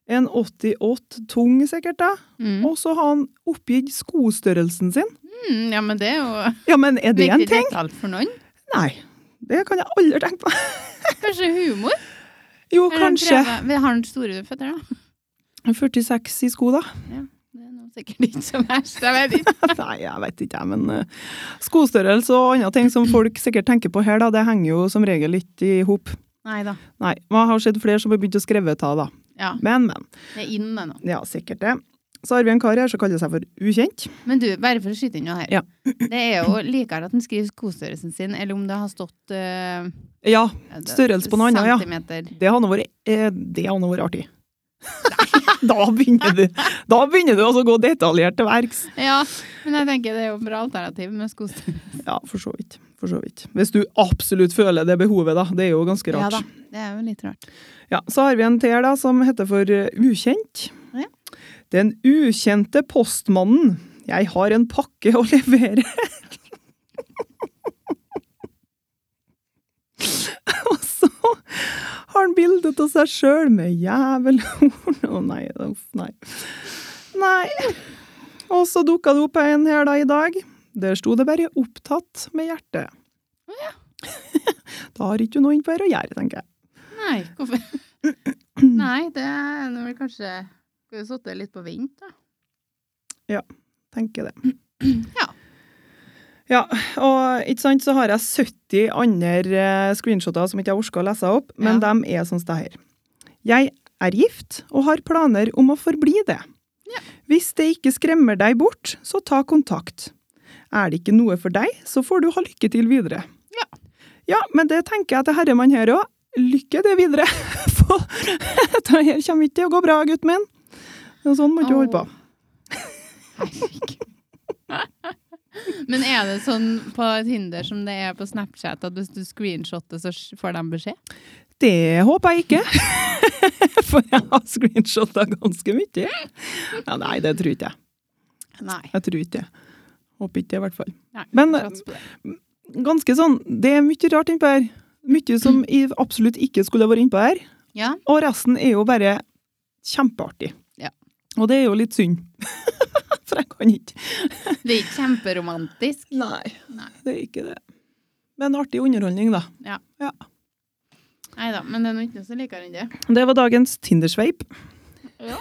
[SPEAKER 2] en 88 tung sikkert, da.
[SPEAKER 1] Mm.
[SPEAKER 2] Og så har han oppgitt skostørrelsen sin.
[SPEAKER 1] Mm, ja, men det er jo
[SPEAKER 2] Ja, men er det en
[SPEAKER 1] viktig
[SPEAKER 2] ting?
[SPEAKER 1] detalj for noen.
[SPEAKER 2] Nei. Det kan jeg aldri tenke på.
[SPEAKER 1] Kanskje humor?
[SPEAKER 2] Jo,
[SPEAKER 1] Eller han
[SPEAKER 2] kanskje
[SPEAKER 1] prøver- Vi har den store føtter, da.
[SPEAKER 2] 46 i sko, da.
[SPEAKER 1] Det er noe sikkert ikke så verst. Jeg vet ikke.
[SPEAKER 2] Nei, jeg vet ikke, jeg, men eh, skostørrelse og andre ting som folk sikkert tenker på her, da, det henger jo som regel litt i hop.
[SPEAKER 1] Nei da.
[SPEAKER 2] Nei, men jeg har sett flere som har begynt å skrive ta, da.
[SPEAKER 1] Ja,
[SPEAKER 2] Men, men.
[SPEAKER 1] det er inn det nå.
[SPEAKER 2] Ja, sikkert det. Så har vi en kar her som kaller seg for Ukjent.
[SPEAKER 1] Men du, bare for å skyte inn noe her.
[SPEAKER 2] Ja.
[SPEAKER 1] Det er jo likere at den skriver skostørrelsen sin, eller om det har stått eh,
[SPEAKER 2] Ja,
[SPEAKER 1] det-
[SPEAKER 2] Størrelse på noe annet, ja.
[SPEAKER 1] Centimeter.
[SPEAKER 2] det hadde vært, eh, det hadde vært artig. da begynner du, da begynner du altså å gå detaljert til verks.
[SPEAKER 1] Ja, men jeg tenker det er jo et bra alternativ med skostørrelse.
[SPEAKER 2] Ja, for så vidt. For så vidt. Hvis du absolutt føler det behovet, da. Det er jo ganske
[SPEAKER 1] Ja
[SPEAKER 2] rart.
[SPEAKER 1] da, det er jo litt rart.
[SPEAKER 2] Ja, så har vi en til her da, som heter for eh, Ukjent.
[SPEAKER 1] Ja.
[SPEAKER 2] Den ukjente postmannen. Jeg har en pakke å levere. Og så har han bildet av seg sjøl med jævelhorn. Å nei, uff, nei. Nei. Og så dukka det opp en her da i dag. Der sto det bare 'opptatt med hjertet'. da har ikke du noe innpå her å gjøre, tenker jeg.
[SPEAKER 1] Nei, hvorfor? Nei, det er nå vel kanskje Skulle sittet litt på vent, da.
[SPEAKER 2] tenker det.
[SPEAKER 1] Ja.
[SPEAKER 2] Ja, og ikke sant, så har jeg 70 andre eh, screenshoter som ikke jeg orker å lese opp, men
[SPEAKER 1] Ja.
[SPEAKER 2] de er sånn som det her. Jeg er gift og har planer om å forbli det.
[SPEAKER 1] Ja.
[SPEAKER 2] Hvis det ikke skremmer deg bort, så ta kontakt. Er det ikke noe for deg, så får du ha lykke til videre.
[SPEAKER 1] Ja.
[SPEAKER 2] Ja, men det tenker jeg til herremann her òg. Lykke til videre! For dette her kommer ikke til å gå bra, gutten min. Og sånn må du ikke holde på.
[SPEAKER 1] Herregud. Men er det sånn på Tinder som det er på Snapchat, at hvis du screenshotter, så får de beskjed?
[SPEAKER 2] Det håper jeg ikke. For jeg har screenshotta ganske mye. Ja, nei, det tror ikke jeg.
[SPEAKER 1] Nei.
[SPEAKER 2] Jeg tror ikke det. Håper ikke det, i hvert fall.
[SPEAKER 1] Nei,
[SPEAKER 2] Men-
[SPEAKER 1] sats på det.
[SPEAKER 2] Ganske sånn, det er mye rart innpå her. Mye som jeg absolutt ikke skulle ha vært innpå her.
[SPEAKER 1] Ja.
[SPEAKER 2] Og resten er jo bare kjempeartig.
[SPEAKER 1] Ja.
[SPEAKER 2] Og det er jo litt synd. For jeg kan ikke.
[SPEAKER 1] Det er ikke kjemperomantisk.
[SPEAKER 2] Nei,
[SPEAKER 1] Nei.
[SPEAKER 2] det er ikke det. Men artig underholdning, da.
[SPEAKER 1] Nei da, men det er nå ikke noe som liker enn det.
[SPEAKER 2] Det var dagens Tindersveip.
[SPEAKER 1] Ja.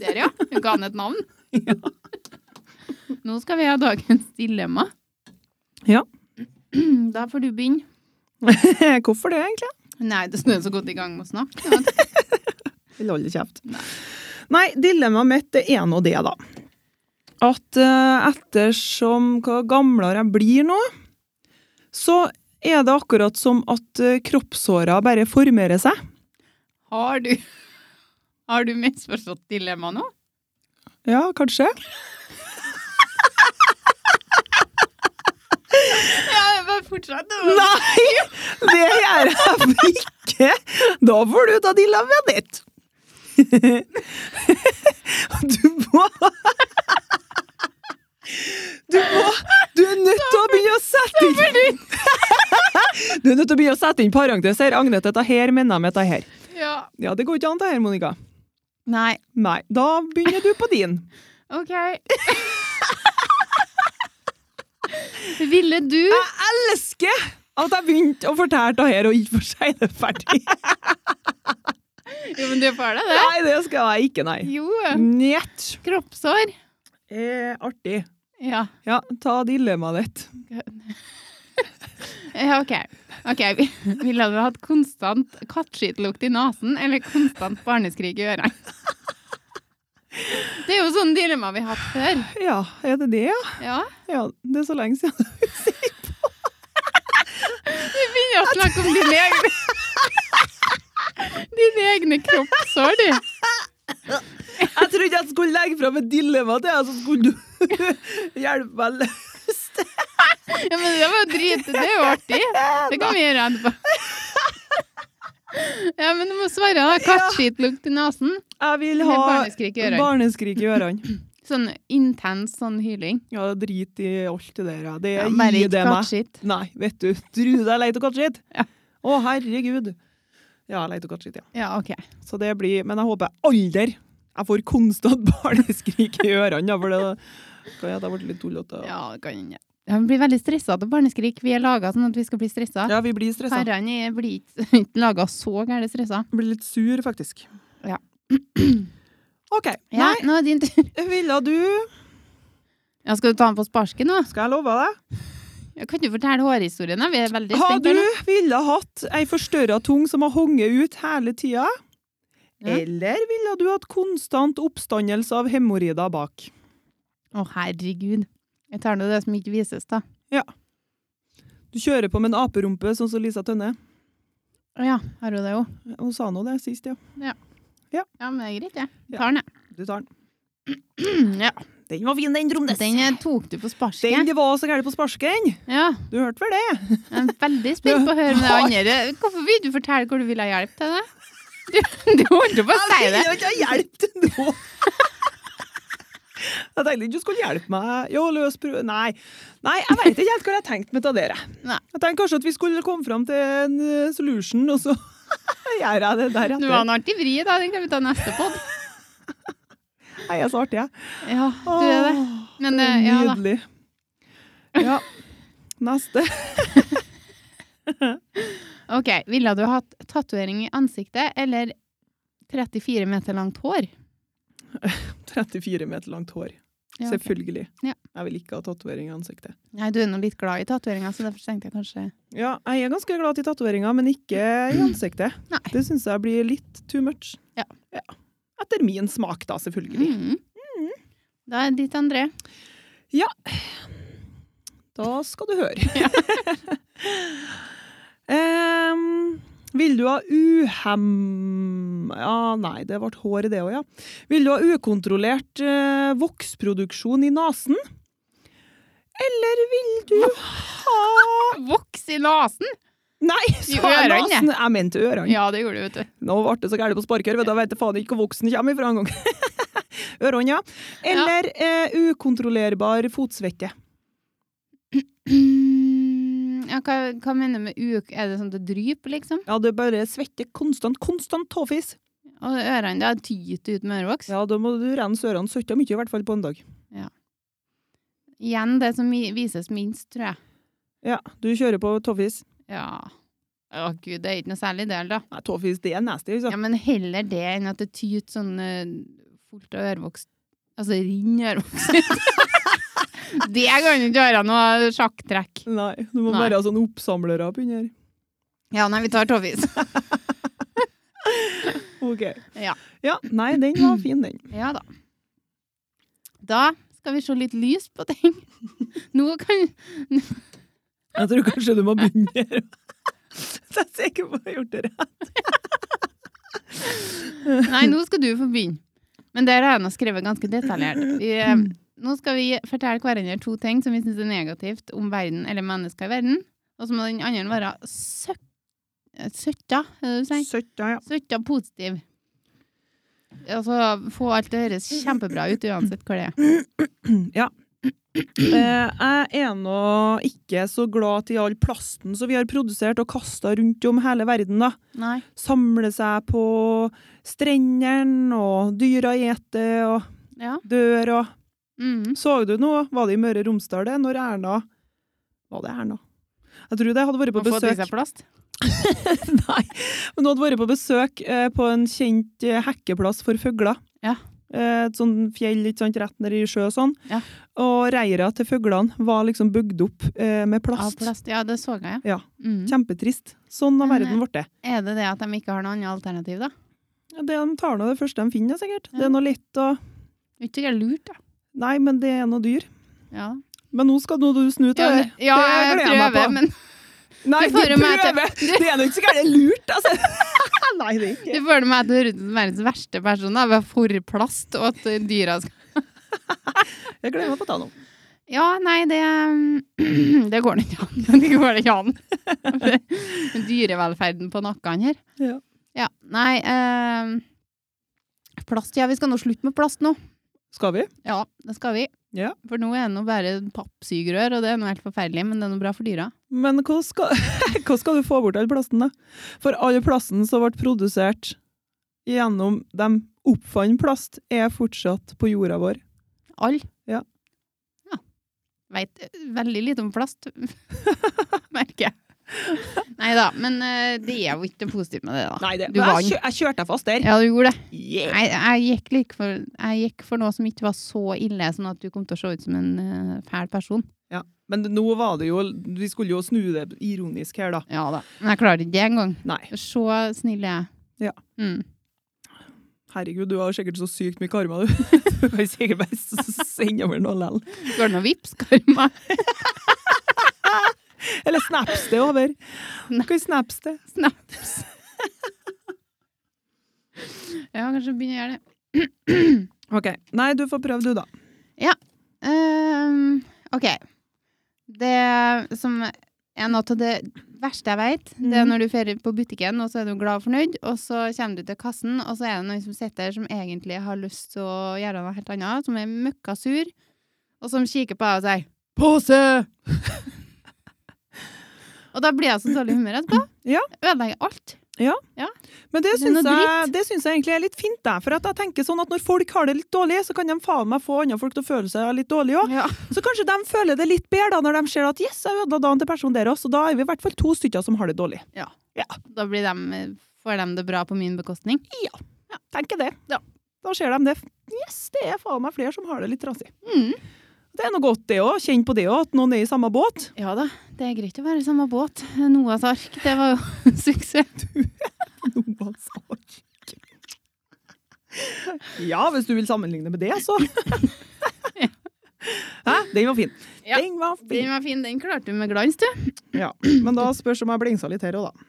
[SPEAKER 1] Der, ja. Hun ga han et navn. Nå skal vi ha dagens dilemma.
[SPEAKER 2] Ja.
[SPEAKER 1] Da får du begynne.
[SPEAKER 2] Hvorfor det, egentlig?
[SPEAKER 1] Nei, det snør så godt i gang med å snakke.
[SPEAKER 2] Vil holde kjeft. Nei, dilemmaet mitt det er nå det, da. At eh, ettersom hva gamlere jeg blir nå, så er det akkurat som at eh, kroppshåra bare formerer seg.
[SPEAKER 1] Har du Har du misforstått dilemmaet nå?
[SPEAKER 2] Ja, kanskje.
[SPEAKER 1] Ja, bare fortsett.
[SPEAKER 2] Nei! Det gjør jeg ikke! Da får du ta dilemmaet ditt. Du må Du må Du er nødt til å begynne å sette inn Du er nødt til å begynne å sette inn parentes her. Agnes, dette her mener jeg med dette her.
[SPEAKER 1] Ja.
[SPEAKER 2] Ja, det går ikke an, det her, Monica.
[SPEAKER 1] Nei.
[SPEAKER 2] Nei. Da begynner du på din.
[SPEAKER 1] OK. Ville du
[SPEAKER 2] Jeg elsker at jeg begynte å fortelle det her og ikke får si det ferdig.
[SPEAKER 1] Jo, men du får det, det.
[SPEAKER 2] Nei, det skal jeg ikke, nei.
[SPEAKER 1] Jo. eh,
[SPEAKER 2] Njet.
[SPEAKER 1] Kroppsår.
[SPEAKER 2] Eh, artig.
[SPEAKER 1] Ja.
[SPEAKER 2] Ja, ta dilemmaet ditt.
[SPEAKER 1] Ja, Eh, OK. Ok, vi- Ville du hatt konstant kattskitlukt i nesen eller konstant barneskrik i ørene? Det er jo sånne dilemma vi har hatt før.
[SPEAKER 2] Ja, er det det, ja?
[SPEAKER 1] Ja.
[SPEAKER 2] Ja, det er så lenge siden.
[SPEAKER 1] Vi begynner å snakke om dine egne Dine egne kroppsår, du.
[SPEAKER 2] Jeg trodde jeg skulle legge fram et dilemma til deg, så skulle du hjelpe meg løs.
[SPEAKER 1] Ja, men det var jo drit. Det er jo artig. Det kan vi gjøre etterpå. Ja, men du må svare, da. Kattskitlukt i nesen.
[SPEAKER 2] Jeg vil
[SPEAKER 1] Eller
[SPEAKER 2] ha
[SPEAKER 1] barneskrik i ørene.
[SPEAKER 2] barneskrik i ørene.
[SPEAKER 1] Sånn intens sånn hyling.
[SPEAKER 2] Ja, drit i alt det der. Ja. Det
[SPEAKER 1] Ja,
[SPEAKER 2] gir
[SPEAKER 1] bare ikke
[SPEAKER 2] det meg.
[SPEAKER 1] kattskitt.
[SPEAKER 2] Nei, vet du. Tror du jeg leter kattskitt?
[SPEAKER 1] Ja.
[SPEAKER 2] Å, herregud. Ja, jeg leter kattskitt, ja.
[SPEAKER 1] Ja, OK.
[SPEAKER 2] Så det blir Men jeg håper aldri jeg får konstant barneskrik i ørene, da, for det kan jeg ha vært litt tullete. Ja.
[SPEAKER 1] Ja, det kan hende. Jeg blir veldig stressa av barneskrik. Vi er laga sånn at vi skal bli stressa.
[SPEAKER 2] ja, vi blir stressa.
[SPEAKER 1] Karene er- blir ikke ikke laga så gærent stressa.
[SPEAKER 2] Blir litt sur, faktisk.
[SPEAKER 1] Ja.
[SPEAKER 2] OK.
[SPEAKER 1] Ja,
[SPEAKER 2] Nei,
[SPEAKER 1] nå er det din tur.
[SPEAKER 2] ville du
[SPEAKER 1] Ja, skal du ta den på sparket nå?
[SPEAKER 2] Skal jeg love deg?
[SPEAKER 1] Ja, Kan du fortelle hårhistorien? da? Vi er veldig
[SPEAKER 2] Har
[SPEAKER 1] spent.
[SPEAKER 2] du
[SPEAKER 1] her nå.
[SPEAKER 2] ville hatt ei forstørra tung som har hunget ut hele tida?
[SPEAKER 1] Ja.
[SPEAKER 2] Eller ville du hatt konstant oppstandelse av hemoroider bak?
[SPEAKER 1] Å, herregud. Jeg tar nå det som ikke vises, da.
[SPEAKER 2] Du kjører på med en aperumpe, sånn som Lisa Tønne.
[SPEAKER 1] Å ja, har hun det òg?
[SPEAKER 2] Hun sa nå det sist, ja.
[SPEAKER 1] Ja, men det er greit, jeg.
[SPEAKER 2] Ja.
[SPEAKER 1] Tar den,
[SPEAKER 2] Du tar den.
[SPEAKER 1] jeg. Ja.
[SPEAKER 2] Den var fin, den, Tromnes. Den,
[SPEAKER 1] Den eh, tok du på sparket.
[SPEAKER 2] det var så gæren på sparken.
[SPEAKER 1] Ja,
[SPEAKER 2] Du hørte vel det?
[SPEAKER 1] jeg er veldig spent på å høre med det andre. Hvorfor vil du fortelle hvor du vil ha hjelp til det? Du, du holdt jo på å si det.
[SPEAKER 2] Jeg ville ikke ha hjelp til nå. Jeg tenkte ikke du skulle hjelpe meg. Jo, løs prøve. Nei. Nei, jeg vet ikke helt hva jeg tenkte med det der. jeg.
[SPEAKER 1] Nei.
[SPEAKER 2] Jeg tenkte kanskje at vi skulle komme fram til en eh, solution, og så gjør jeg det der
[SPEAKER 1] Det var
[SPEAKER 2] etter.
[SPEAKER 1] en artig vri, da. Den kan vi ta neste pod.
[SPEAKER 2] Nei, jeg er så artig, jeg.
[SPEAKER 1] Ja, du er det. Men eh, ja da.
[SPEAKER 2] Nydelig. Ja. Neste.
[SPEAKER 1] OK. Ville du hatt tatovering i ansiktet eller 34 meter langt hår?
[SPEAKER 2] 34 meter langt hår.
[SPEAKER 1] Ja, ok.
[SPEAKER 2] Selvfølgelig.
[SPEAKER 1] Ja.
[SPEAKER 2] Jeg vil ikke ha tatovering i ansiktet.
[SPEAKER 1] Nei, du er nå litt glad i tatoveringer, så derfor tenkte jeg kanskje
[SPEAKER 2] Ja, jeg er ganske glad i tatoveringer, men ikke i ansiktet.
[SPEAKER 1] Nei.
[SPEAKER 2] Det syns jeg blir litt too much. Etter min smak, da, selvfølgelig.
[SPEAKER 1] Mhm. Da er det ditt, André.
[SPEAKER 2] Da skal du høre. Em, vil du ha uhem... Ja, nei, det ble hår i det òg, ja. Vil du ha ukontrollert eh, voksproduksjon i nesen? Eller vil du ha
[SPEAKER 1] Voks i nesen!
[SPEAKER 2] Nei,
[SPEAKER 1] I
[SPEAKER 2] sa jeg
[SPEAKER 1] ørene.
[SPEAKER 2] nesen! Jeg mente ørene.
[SPEAKER 1] Ja, det gjorde du, vet du.
[SPEAKER 2] Nå ble det så gærent på sparkørv, da vet jeg faen ikke hvor voksen kommer ifra engang. Ørene, ja. Eller eh, ukontrollerbar fotsvette.
[SPEAKER 1] Mm, Ja, hva, hva mener du med uk? Er det sånn at det dryper, liksom?
[SPEAKER 2] Ja, det er bare svette konstant, konstant tåfis.
[SPEAKER 1] Og ørene da tyter ut med ørevoks?
[SPEAKER 2] Ja, da må du rense ørene søtta mye, i hvert fall på en dag.
[SPEAKER 1] Igjen det som vi- vises minst, tror jeg.
[SPEAKER 2] Ja, du kjører på tåfis.
[SPEAKER 1] Ja. Å gud, det er ikke noe særlig del, da.
[SPEAKER 2] Nei, tåfis, det er nasty,
[SPEAKER 1] Ja,
[SPEAKER 2] liksom.
[SPEAKER 1] Men heller det enn at det tyter sånn eh, fullt av ørevoks Altså rinner ørevoks ut. det kan ikke være noe sjakktrekk.
[SPEAKER 2] Nei, du må
[SPEAKER 1] Nei.
[SPEAKER 2] være sånn oppsamler opp under.
[SPEAKER 1] Ja, nei, vi tar tåfis.
[SPEAKER 2] Ok.
[SPEAKER 1] Ja.
[SPEAKER 2] Ja, nei, den var fin, den.
[SPEAKER 1] Ja da. Da skal vi se litt lys på ting. Nå kan
[SPEAKER 2] Jeg tror kanskje du må begynne her. Så jeg er sikker på at jeg har gjort det rett.
[SPEAKER 1] Nei, nå skal du få begynne. Men der har jeg nå skrevet ganske detaljert. Vi, eh, nå skal vi fortelle hverandre to ting som vi syns er negativt om verden eller mennesker i verden. Og så må den andre være søk... Søtta, er det du sier?
[SPEAKER 2] Søtt, ja, ja.
[SPEAKER 1] Søtta positiv. Altså få alt det høres kjempebra ut uansett hva det er.
[SPEAKER 2] Eh, jeg er nå ikke så glad til all plasten som vi har produsert og kasta rundt om hele verden, da.
[SPEAKER 1] Nei.
[SPEAKER 2] Samle seg på strendene, og dyra eter, og
[SPEAKER 1] Ja.
[SPEAKER 2] dør, og
[SPEAKER 1] Mhm.
[SPEAKER 2] Så du nå, var det i Møre og Romsdal det, når Erna Var det Erna? Jeg tror det hadde vært på
[SPEAKER 1] Har fått i
[SPEAKER 2] besøk
[SPEAKER 1] seg plast.
[SPEAKER 2] Nei, men hun hadde vært på besøk eh, på en kjent eh, hekkeplass for fugler.
[SPEAKER 1] Ja.
[SPEAKER 2] Eh, Et sånn fjell ikke sant, rett ned i sjø og sånn.
[SPEAKER 1] Ja.
[SPEAKER 2] Og reira til fuglene var liksom bygd opp eh, med
[SPEAKER 1] Av
[SPEAKER 2] plast.
[SPEAKER 1] plast. Ja, det så jeg,
[SPEAKER 2] Ja.
[SPEAKER 1] Mhm.
[SPEAKER 2] Kjempetrist. Sånn har
[SPEAKER 1] Men,
[SPEAKER 2] verden blitt det.
[SPEAKER 1] Er det det at de ikke har noe annet alternativ, da?
[SPEAKER 2] Ja, Det de tar nå det første de finner, sikkert.
[SPEAKER 1] Ja.
[SPEAKER 2] Det er noe litt og
[SPEAKER 1] Det er Ikke sikkert lurt, da.
[SPEAKER 2] Nei, men det er noe dyr.
[SPEAKER 1] Ja,
[SPEAKER 2] Men nå skal nå du snu til
[SPEAKER 1] ja,
[SPEAKER 2] det.
[SPEAKER 1] ja jeg
[SPEAKER 2] det gleder jeg meg
[SPEAKER 1] prøver,
[SPEAKER 2] på.
[SPEAKER 1] men
[SPEAKER 2] Nei,
[SPEAKER 1] Du
[SPEAKER 2] du
[SPEAKER 1] får jo meg til-
[SPEAKER 2] prøver! Det er nok ikke gærent lurt, altså. Nei, det er ikke.
[SPEAKER 1] Du føler meg at du høres ut som verdens verste person. da, ved For plast, og at dyra skal
[SPEAKER 2] Jeg gleder meg på å ta noe.
[SPEAKER 1] Ja, nei, det Det går det ikke an. Det går det ikke an. Dyrevelferden på nakken her.
[SPEAKER 2] Ja.
[SPEAKER 1] Ja, Nei eh, Plast, ja. Vi skal nå slutte med plast nå.
[SPEAKER 2] Skal vi?
[SPEAKER 1] Ja, det skal vi.
[SPEAKER 2] Ja.
[SPEAKER 1] For nå er det nå bare pappsugerør, og det er nå helt forferdelig, men det er nå bra for dyra.
[SPEAKER 2] Men hvordan skal, hvordan skal du få bort all plasten, da? For all plasten som ble produsert gjennom de oppfant plast, er fortsatt på jorda vår.
[SPEAKER 1] All.
[SPEAKER 2] Ja.
[SPEAKER 1] ja. Veit veldig lite om plast, merker jeg. Nei da, men eh, det er jo ikke noe positivt med det, da.
[SPEAKER 2] Nei, det,
[SPEAKER 1] Du
[SPEAKER 2] jeg,
[SPEAKER 1] vant.
[SPEAKER 2] kjø, jeg kjørte deg fast der.
[SPEAKER 1] Ja, du gjorde det.
[SPEAKER 2] Yeah.
[SPEAKER 1] Jeg, jeg, gikk like for, jeg gikk for noe som ikke var så ille, sånn at du kom til å se ut som en eh, fæl person.
[SPEAKER 2] Men nå var det jo Vi skulle jo snu det ironisk her, da.
[SPEAKER 1] Ja da. Men jeg klarer ikke det engang.
[SPEAKER 2] Nei.
[SPEAKER 1] Så snill er jeg.
[SPEAKER 2] Ja.
[SPEAKER 1] Mm.
[SPEAKER 2] Herregud, du har sikkert så sykt mye karma, du. Du kan sikkert bare s- s- sende over noe lell.
[SPEAKER 1] Går det noe vips, karma?
[SPEAKER 2] Eller snaps det over. Du kan snaps det.
[SPEAKER 1] Snaps? ja, kanskje begynner jeg å gjøre det.
[SPEAKER 2] OK. Nei, du får prøve, du, da.
[SPEAKER 1] Ehm, OK. Det som er noe av det verste jeg vet, det er
[SPEAKER 2] Mhm.
[SPEAKER 1] når du drar på butikken, og så er du glad og fornøyd, og så kommer du til kassen, og så er det noen som sitter der som egentlig har lyst til å gjøre noe helt annet, som er møkka sur, og som kikker på deg og sier 'pose'! og da blir jeg så dårlig i humør etterpå.
[SPEAKER 2] Ja.
[SPEAKER 1] Ødelegger alt.
[SPEAKER 2] Men det
[SPEAKER 1] Det er
[SPEAKER 2] syns,
[SPEAKER 1] noe
[SPEAKER 2] jeg, det syns jeg egentlig er litt fint, der, for at jeg tenker sånn at når folk har det litt dårlig, så kan de faen meg få andre folk til å føle seg litt dårlig òg.
[SPEAKER 1] Ja.
[SPEAKER 2] Så kanskje de føler det litt bedre da, når de ser at yes, jeg ødela dagen til personen der også, og da er vi i hvert fall to stykker som har det dårlig.
[SPEAKER 1] Da blir dem- får de det bra på min bekostning.
[SPEAKER 2] Tenker det. Da ser de det. Yes, det er faen meg flere som har det litt trasig.
[SPEAKER 1] Mm.
[SPEAKER 2] Det er noe godt det òg, kjenn på det òg, at noen er i samme båt.
[SPEAKER 1] Ja da, det er greit å være i samme båt. Noahs ark, det var jo en suksess.
[SPEAKER 2] Noe altså. Ja, hvis du vil sammenligne med det, så. Hæ? Den var fin.
[SPEAKER 1] Ja,
[SPEAKER 2] Den var fin.
[SPEAKER 1] Den var fin. Den klarte du med glans, du.
[SPEAKER 2] Ja. Men da spørs om jeg blingsa litt her òg, da.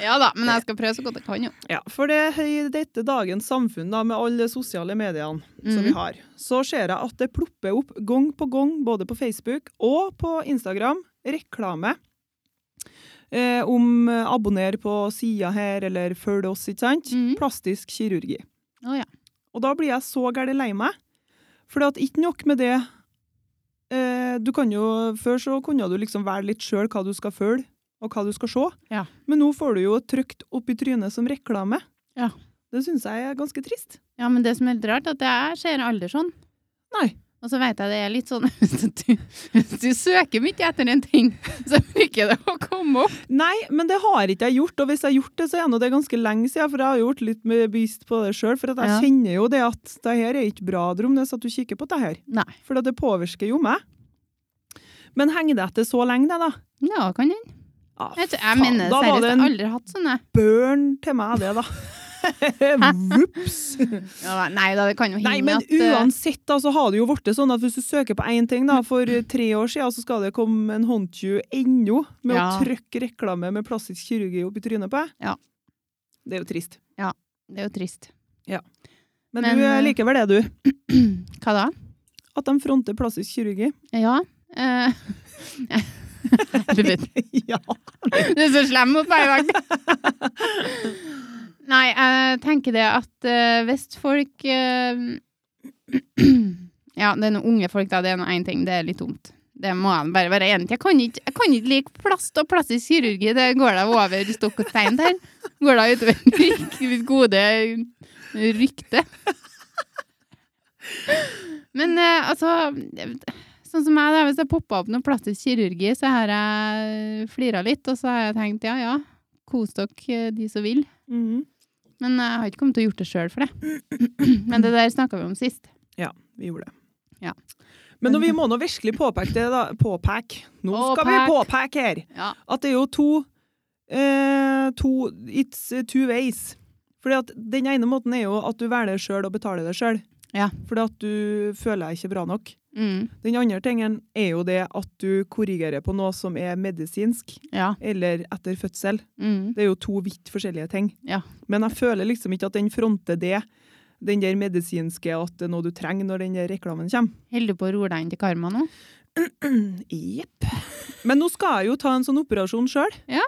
[SPEAKER 1] Ja da, men jeg skal prøve så godt jeg kan, jo.
[SPEAKER 2] Ja, for det i dette dagens samfunn da, med alle sosiale mediene som vi
[SPEAKER 1] Mhm.
[SPEAKER 2] har, så ser jeg at det plopper opp gang på gang, både på Facebook og på Instagram, reklame eh, om eh, abonner på sida her, eller følg oss, ikke sant?
[SPEAKER 1] Mhm.
[SPEAKER 2] Plastisk kirurgi.
[SPEAKER 1] Å ja.
[SPEAKER 2] Og da blir jeg så gærent lei meg. For ikke nok med det eh, du kan jo, Før så kunne du liksom velge litt sjøl hva du skal følge, og hva du skal se.
[SPEAKER 1] Ja.
[SPEAKER 2] Men nå får du jo trykt opp i trynet som reklame.
[SPEAKER 1] Ja.
[SPEAKER 2] Det syns jeg er ganske trist.
[SPEAKER 1] ja, men det som er litt rart, er at jeg ser aldri sånn.
[SPEAKER 2] Nei.
[SPEAKER 1] Og så veit jeg det er litt sånn hvis du, hvis du søker mye etter en ting, så bruker det å komme opp.
[SPEAKER 2] Nei, men det har ikke jeg gjort. Og hvis jeg har gjort det, så er nå det ganske lenge siden, for jeg har gjort litt med bevisst på det sjøl. For at jeg
[SPEAKER 1] Ja.
[SPEAKER 2] kjenner jo det at det her er ikke bra, Dromnes, at du kikker på det her.
[SPEAKER 1] Nei.
[SPEAKER 2] For at det påvirker jo meg. Men henger det etter så lenge, det, da?
[SPEAKER 1] Ja, kan hende.
[SPEAKER 2] Ah,
[SPEAKER 1] Jeg, tror- jeg
[SPEAKER 2] faen,
[SPEAKER 1] mener
[SPEAKER 2] da var
[SPEAKER 1] seriøst, jeg
[SPEAKER 2] det en-
[SPEAKER 1] har aldri hatt sånne.
[SPEAKER 2] børn til meg, det, da. Vops!
[SPEAKER 1] Ja, nei da, det kan jo hende
[SPEAKER 2] Nei, men
[SPEAKER 1] at eh,
[SPEAKER 2] uansett, da, så har det jo blitt sånn at hvis du søker på én ting, da, for tre år siden, så skal det komme en håndtju ennå med
[SPEAKER 1] Ja.
[SPEAKER 2] å trykke reklame med plastisk kirurgi opp i trynet på deg.
[SPEAKER 1] Ja.
[SPEAKER 2] Det er jo trist.
[SPEAKER 1] Det er jo trist.
[SPEAKER 2] Men,
[SPEAKER 1] Men,
[SPEAKER 2] du eh,
[SPEAKER 1] eh,
[SPEAKER 2] liker vel det, du?
[SPEAKER 1] Hva da?
[SPEAKER 2] At de fronter plastisk kirurgi?
[SPEAKER 1] Ja. eh, Helvete.
[SPEAKER 2] ja.
[SPEAKER 1] Du er så slem mot meg i dag. Nei, jeg tenker det at eh, hvis folk eh, Ja, det er noen unge folk, da. Det er nå én ting. Det er litt dumt. Det må jeg bare være enig i. Jeg kan ikke, jeg kan ikke like plast og plastisk kirurgi. Det går da over stokk og stein der. Går da utover mitt- mitt gode rykte. Men eh, altså Sånn som meg, da, hvis det poppa opp noe plastisk kirurgi, så har jeg flira litt, og så har jeg tenkt ja, ja, kos dere eh, de som vil.
[SPEAKER 2] Mhm.
[SPEAKER 1] Men jeg har ikke kommet til å gjort det sjøl for det. Men det der snakka vi om sist.
[SPEAKER 2] Vi gjorde det.
[SPEAKER 1] Ja.
[SPEAKER 2] Men når vi må nå virkelig påpeke det, da. Påpeke. Nå skal vi påpeke her!
[SPEAKER 1] Ja.
[SPEAKER 2] at det er jo to, eh, to It's two ways. Fordi at Den ene måten er jo at du velger sjøl og betaler deg sjøl.
[SPEAKER 1] Ja.
[SPEAKER 2] Fordi at du føler deg ikke bra nok.
[SPEAKER 1] Mm,
[SPEAKER 2] Den andre tingen er jo det at du korrigerer på noe som er medisinsk
[SPEAKER 1] ja.
[SPEAKER 2] eller etter fødsel.
[SPEAKER 1] Mm,
[SPEAKER 2] Det er jo to vidt forskjellige ting.
[SPEAKER 1] Ja.
[SPEAKER 2] Men jeg føler liksom ikke at den fronter det, den der medisinske, at det er noe du trenger når den der reklamen kommer.
[SPEAKER 1] Holder du på å roe deg inn til karma nå?
[SPEAKER 2] Jepp. Men nå skal jeg jo ta en sånn operasjon sjøl.
[SPEAKER 1] Ja.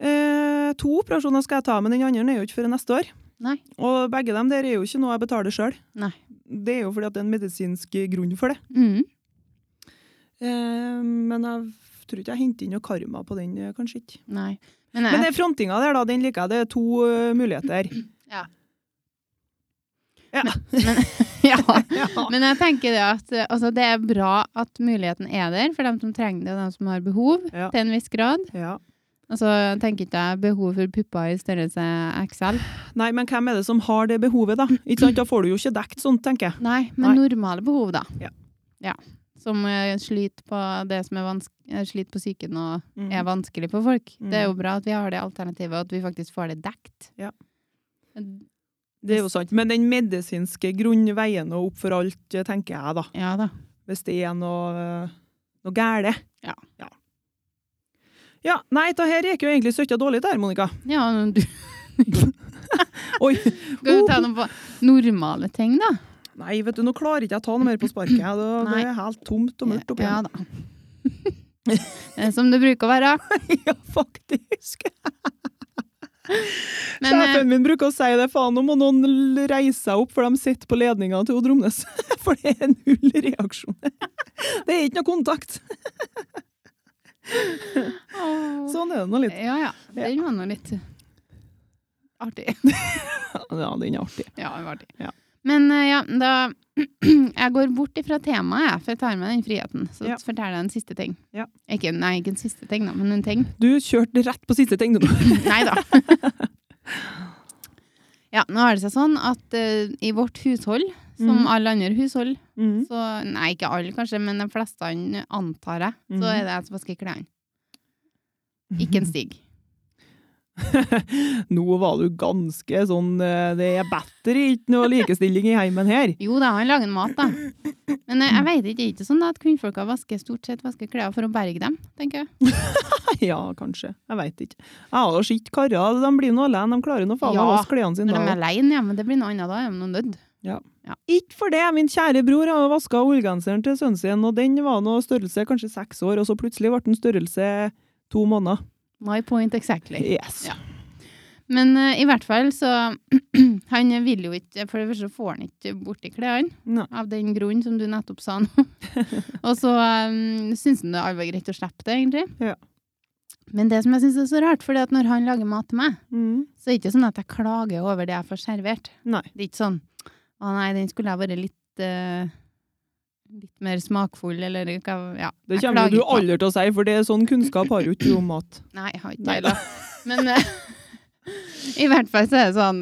[SPEAKER 2] Eh, to operasjoner skal jeg ta, men den andre er jo ikke før neste år.
[SPEAKER 1] Nei.
[SPEAKER 2] Og begge dem der er jo ikke noe jeg betaler sjøl.
[SPEAKER 1] Nei.
[SPEAKER 2] Det er jo fordi at det er en medisinsk grunn for det.
[SPEAKER 1] Mm.
[SPEAKER 2] Eh, men jeg tror ikke jeg henter inn noe karma på den, eh, kanskje ikke.
[SPEAKER 1] Nei. Men
[SPEAKER 2] Men
[SPEAKER 1] jeg,
[SPEAKER 2] den frontinga der, da, den liker jeg. Det er to eh, muligheter.
[SPEAKER 1] ja.
[SPEAKER 2] Ja.
[SPEAKER 1] Men jeg tenker det at eh, altså, det er bra at muligheten er der for dem som trenger det, og dem som har behov,
[SPEAKER 2] Ja.
[SPEAKER 1] til en viss grad.
[SPEAKER 2] ja.
[SPEAKER 1] Altså, jeg tenker ikke jeg behov for pupper i størrelse XL.
[SPEAKER 2] Nei, men hvem er det som har det behovet, da? Ikke sant? Da får du jo ikke dekt sånt, tenker jeg.
[SPEAKER 1] Nei, men normale behov, da.
[SPEAKER 2] Ja.
[SPEAKER 1] Ja. Som eh, sliter på det som er vanskelig, sliter på psyken og
[SPEAKER 2] Mhm.
[SPEAKER 1] er vanskelig for folk.
[SPEAKER 2] Mhm.
[SPEAKER 1] Det er jo bra at vi har det alternativet, og at vi faktisk får det dekt.
[SPEAKER 2] Ja.
[SPEAKER 1] Men-
[SPEAKER 2] Det er jo sant. Men den medisinske grunnen veier nå opp for alt, eh, tenker jeg, da.
[SPEAKER 1] Ja da.
[SPEAKER 2] hvis det er noe, eh, noe gære.
[SPEAKER 1] Ja.
[SPEAKER 2] ja. Ja, nei, det her gikk jo egentlig søkja dårlig der, Monica.
[SPEAKER 1] Ja, men du
[SPEAKER 2] Oi,
[SPEAKER 1] Skal vi
[SPEAKER 2] Oh!
[SPEAKER 1] ta noe på normale ting, da?
[SPEAKER 2] nei, vet du, nå klarer ikke jeg å ta noe mer på sparket. Det, det er helt tomt og mørkt oppi
[SPEAKER 1] Ja
[SPEAKER 2] her.
[SPEAKER 1] da. Det er Som det bruker å være.
[SPEAKER 2] Ja, faktisk.
[SPEAKER 1] Men eh,
[SPEAKER 2] Sjefen min bruker å si det, faen, nå må noen l- reise seg opp, for de sitter på ledninga til Odd Romnes. For det er null reaksjon. Det er ikke noe kontakt.
[SPEAKER 1] åh.
[SPEAKER 2] Sånn er det nå litt.
[SPEAKER 1] Ja ja. Den var nå litt artig.
[SPEAKER 2] Ja, den er artig.
[SPEAKER 1] Ja, det var artig.
[SPEAKER 2] Ja.
[SPEAKER 1] Men eh, ja, da Jeg går bort ifra temaet, jeg, for jeg tar med den friheten. Så
[SPEAKER 2] Ja.
[SPEAKER 1] forteller jeg en siste ting.
[SPEAKER 2] Ja.
[SPEAKER 1] Ikke, nei, ikke en siste ting, da, men en ting.
[SPEAKER 2] Du kjørte rett på siste ting, du nå.
[SPEAKER 1] Nei da. ja, nå har det seg sånn at eh, i vårt hushold, som
[SPEAKER 2] Mhm.
[SPEAKER 1] alle andre hushold,
[SPEAKER 2] Mm.
[SPEAKER 1] så Nei, ikke alle, kanskje, men de fleste, antar jeg, så
[SPEAKER 2] Mhm.
[SPEAKER 1] er det jeg som vasker klærne. Ikke en stig.
[SPEAKER 2] Nå var du ganske sånn eh, Det er battery, ikke noe likestilling i heimen her.
[SPEAKER 1] Jo da, han lager en mat, da. Men eh, jeg vet ikke, det er ikke sånn da at kvinnfolka vasker stort sett vasker klær for å berge dem, tenker jeg.
[SPEAKER 2] Ja, kanskje. Jeg veit ikke. Jeg har da sett karer. De blir nå alene. De klarer nå faen meg å
[SPEAKER 1] Ja,
[SPEAKER 2] vaske klærne sine.
[SPEAKER 1] Når de er
[SPEAKER 2] da.
[SPEAKER 1] alene, ja, men det blir noe annet da, er de nå nødt.
[SPEAKER 2] Ikke for det! Min kjære bror har vaska ullgenseren til sønnen sin, og den var nå størrelse kanskje seks år, og så plutselig ble den størrelse to måneder.
[SPEAKER 1] My point exactly.
[SPEAKER 2] Yes.
[SPEAKER 1] Ja. Men eh, i hvert fall så Han vil jo ikke For det første får han ikke borti klærne,
[SPEAKER 2] Nei.
[SPEAKER 1] av den grunn som du nettopp sa nå. og så um, syns han det er alvor greit å slippe det, egentlig.
[SPEAKER 2] Ja.
[SPEAKER 1] Men det som jeg syns er så rart, fordi at når han lager mat til meg,
[SPEAKER 2] Mm.
[SPEAKER 1] så er det ikke sånn at jeg klager over det jeg får servert.
[SPEAKER 2] Nei.
[SPEAKER 1] Det er ikke sånn Å nei, den skulle jeg vært litt eh, Litt mer smakfull, eller hva Ja.
[SPEAKER 2] Det
[SPEAKER 1] jeg
[SPEAKER 2] kommer
[SPEAKER 1] klager
[SPEAKER 2] jo du
[SPEAKER 1] ikke på-
[SPEAKER 2] aldri til å si, for det er sånn kunnskap har jo ikke du om mat.
[SPEAKER 1] Nei, jeg har ikke det
[SPEAKER 2] Nei da.
[SPEAKER 1] heller. Men eh, i hvert fall så er det sånn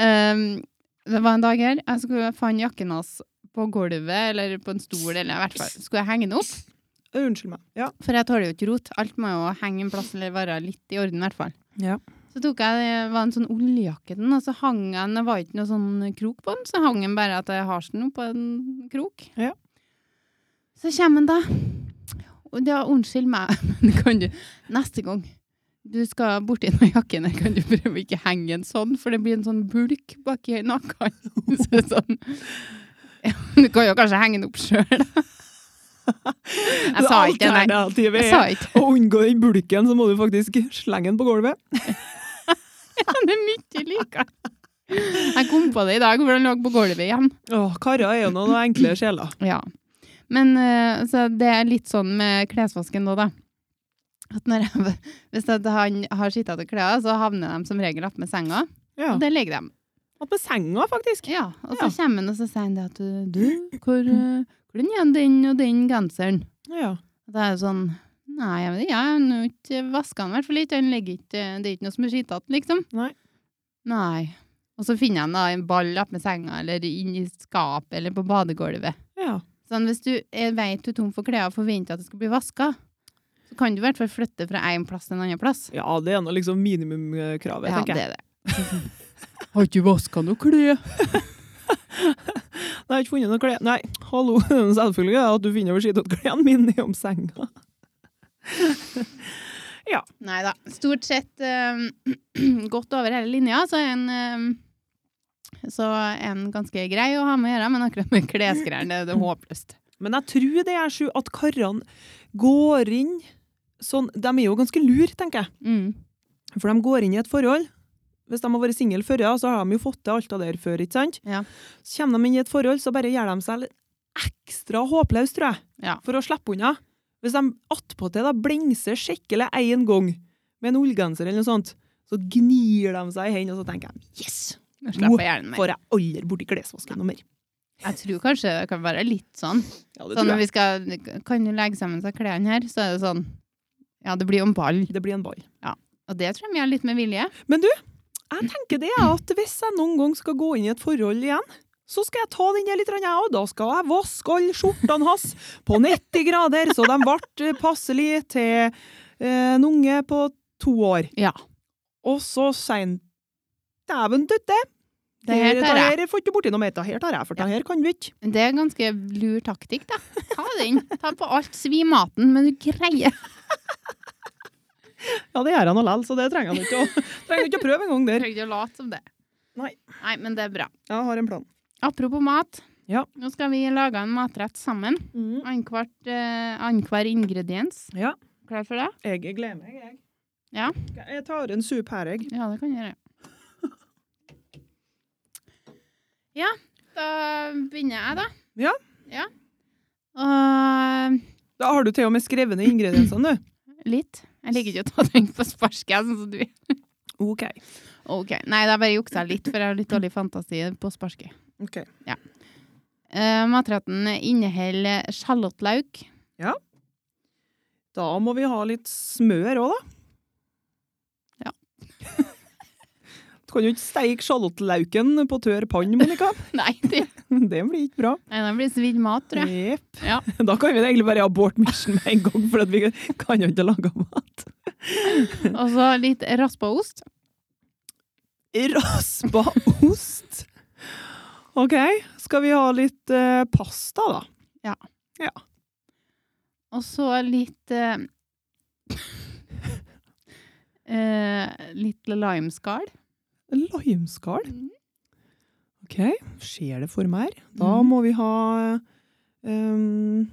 [SPEAKER 1] ehm, Det var en dag her jeg skulle fant jakken hans på gulvet eller på en stol, eller i hvert fall skulle jeg henge den opp.
[SPEAKER 2] Eh, Unnskyld meg. Ja.
[SPEAKER 1] For jeg tåler jo ikke rot. Alt må jo henge en plass eller være litt i orden, i hvert fall.
[SPEAKER 2] Ja.
[SPEAKER 1] Så tok jeg, det var en sånn oljejakke den, og så hang jeg den, det var ikke noe sånn krok på den, så hang den bare at jeg har den på en krok.
[SPEAKER 2] Ja.
[SPEAKER 1] Så kommer den da, og da unnskyld meg, men kan du, neste gang du skal borti denne jakken, her, kan du prøve å ikke henge den sånn, for det blir en sånn bulk bak i nakken. Så det er sånn, ja, du kan jo kanskje henge den opp selv da. Jeg sa ikke det, nei.
[SPEAKER 2] Alternativet
[SPEAKER 1] Jeg sa
[SPEAKER 2] er
[SPEAKER 1] ikke
[SPEAKER 2] å unngå den bulken, så må du faktisk slenge den på gulvet.
[SPEAKER 1] Han er mye likere. Jeg kom på det i dag, for han lå på gulvet igjen.
[SPEAKER 2] Åh, Karer er jo noen enkle sjeler.
[SPEAKER 1] Ja. Men eh, så det er litt sånn med klesvasken nå, da. At når jeg, hvis at han har skittete klær, så havner de som regel opp med senga.
[SPEAKER 2] Ja.
[SPEAKER 1] Og der ligger de.
[SPEAKER 2] Opp med senga, faktisk.
[SPEAKER 1] Ja, og så
[SPEAKER 2] Ja.
[SPEAKER 1] kommer han og så sier han det at Du, hvor, eh, hvordan er den og den genseren?
[SPEAKER 2] Ja.
[SPEAKER 1] Og da er det sånn Nei, jeg vet ikke, jeg har nå ikke vaska den i hvert fall ikke. Den ligger ikke Det er ikke noe som er skittete, liksom.
[SPEAKER 2] Nei.
[SPEAKER 1] Nei. Og så finner han da en ball opp med senga, eller inn i skapet, eller på badegulvet.
[SPEAKER 2] Ja.
[SPEAKER 1] Sånn, hvis du er- vet du er tom for klær og forventer at det skal bli vaska, så kan du i hvert fall flytte fra én plass til en annen plass.
[SPEAKER 2] ja, det er nå liksom minimumkravet,
[SPEAKER 1] Ja, det
[SPEAKER 2] tenker
[SPEAKER 1] er
[SPEAKER 2] jeg.
[SPEAKER 1] det. Har ikke vaska noe klær.
[SPEAKER 2] Nei, Jeg har ikke funnet noe klær. Nei, hallo. Selvfølgelig er det at du finner over skittet klærne mine om senga.
[SPEAKER 1] Nei da. Stort sett eh, godt over hele linja, så er en eh, så er en ganske grei å ha med å gjøre, men akkurat med klesgreiene det er det håpløst.
[SPEAKER 2] Men jeg tror det er sju at karene går inn sånn De er jo ganske lur, tenker jeg.
[SPEAKER 1] Mm.
[SPEAKER 2] For de går inn i et forhold. Hvis de har vært single før, ja, så har de jo fått til alt det der før. ikke sant?
[SPEAKER 1] Ja.
[SPEAKER 2] Så kommer de inn i et forhold, så bare gjør de seg litt ekstra håpløse, tror jeg.
[SPEAKER 1] Ja.
[SPEAKER 2] For å slippe unna. Hvis de attpåtil da blingser skikkelig én gang med en ullgenser eller noe sånt, så gnir de seg i hendene, og så tenker jeg yes!
[SPEAKER 1] Nå slipper jeg hjernen mer.
[SPEAKER 2] Får jeg aldri borti klesvasken noe mer.
[SPEAKER 1] Jeg tror kanskje det kan være litt sånn.
[SPEAKER 2] Ja, det
[SPEAKER 1] Så når
[SPEAKER 2] tror
[SPEAKER 1] vi
[SPEAKER 2] jeg.
[SPEAKER 1] skal, kan du legge sammen seg klærne her, så er det sånn Ja, det blir jo en ball.
[SPEAKER 2] Det blir en ball.
[SPEAKER 1] Og det tror jeg vi gjør litt med vilje.
[SPEAKER 2] Jeg tenker det er at hvis jeg noen gang skal gå inn i et forhold igjen, så skal jeg ta den der litt, jeg òg. Da skal jeg vaske alle skjortene hans på 90 grader, så de ble passelig til eh, en unge på to år.
[SPEAKER 1] Ja.
[SPEAKER 2] Og så sier han Dæven døtte!
[SPEAKER 1] Det her tar jeg.
[SPEAKER 2] her får ikke borti noe mer. Det her tar jeg, for det her kan vi ikke.
[SPEAKER 1] Men Det er ganske lur taktikk, da. Ta den. Ta på alt. Svi maten, men du greier.
[SPEAKER 2] Ja, det gjør han likevel, så det trenger han ikke å, trenger ikke å prøve engang
[SPEAKER 1] Jeg
[SPEAKER 2] der.
[SPEAKER 1] trenger ikke å late som det.
[SPEAKER 2] Nei.
[SPEAKER 1] Nei, men det er bra.
[SPEAKER 2] Jeg har en plan.
[SPEAKER 1] Apropos mat.
[SPEAKER 2] Ja.
[SPEAKER 1] Nå skal vi lage en matrett sammen. Annenhver eh, annenhver ingrediens.
[SPEAKER 2] Ja.
[SPEAKER 1] Klar for det?
[SPEAKER 2] Jeg gleder meg, jeg.
[SPEAKER 1] Ja.
[SPEAKER 2] Jeg tar en sup her, jeg.
[SPEAKER 1] Ja, det kan jeg gjøre. Ja, da begynner jeg, da.
[SPEAKER 2] Ja.
[SPEAKER 1] Ja. Og
[SPEAKER 2] Da har du til og med skrevet ned ingrediensene, du.
[SPEAKER 1] litt. Jeg liker ikke å ta ting på sparket, sånn som du gjør.
[SPEAKER 2] OK.
[SPEAKER 1] Ok, Nei, da bare juksa jeg litt, for jeg har litt dårlig fantasi på sparket.
[SPEAKER 2] Ok.
[SPEAKER 1] Ja. Eh, matretten inneholder sjalottløk.
[SPEAKER 2] Da må vi ha litt smør òg, da.
[SPEAKER 1] Ja.
[SPEAKER 2] du kan jo ikke steike sjalottlauken på tørr panne, Monica.
[SPEAKER 1] Nei, det,
[SPEAKER 2] Det blir ikke bra.
[SPEAKER 1] nei, det blir svidd mat, tror jeg.
[SPEAKER 2] Jepp.
[SPEAKER 1] Ja.
[SPEAKER 2] Da kan vi egentlig bare abort mission med en gang, for at vi kan jo ikke lage mat.
[SPEAKER 1] Og så litt raspa ost.
[SPEAKER 2] Raspa ost. OK, skal vi ha litt eh, pasta, da?
[SPEAKER 1] Og så litt eh, eh, Litt limeskall.
[SPEAKER 2] Limeskall.
[SPEAKER 1] Mm.
[SPEAKER 2] OK, skjer det for mer? Da
[SPEAKER 1] Mhm.
[SPEAKER 2] må vi ha ehm,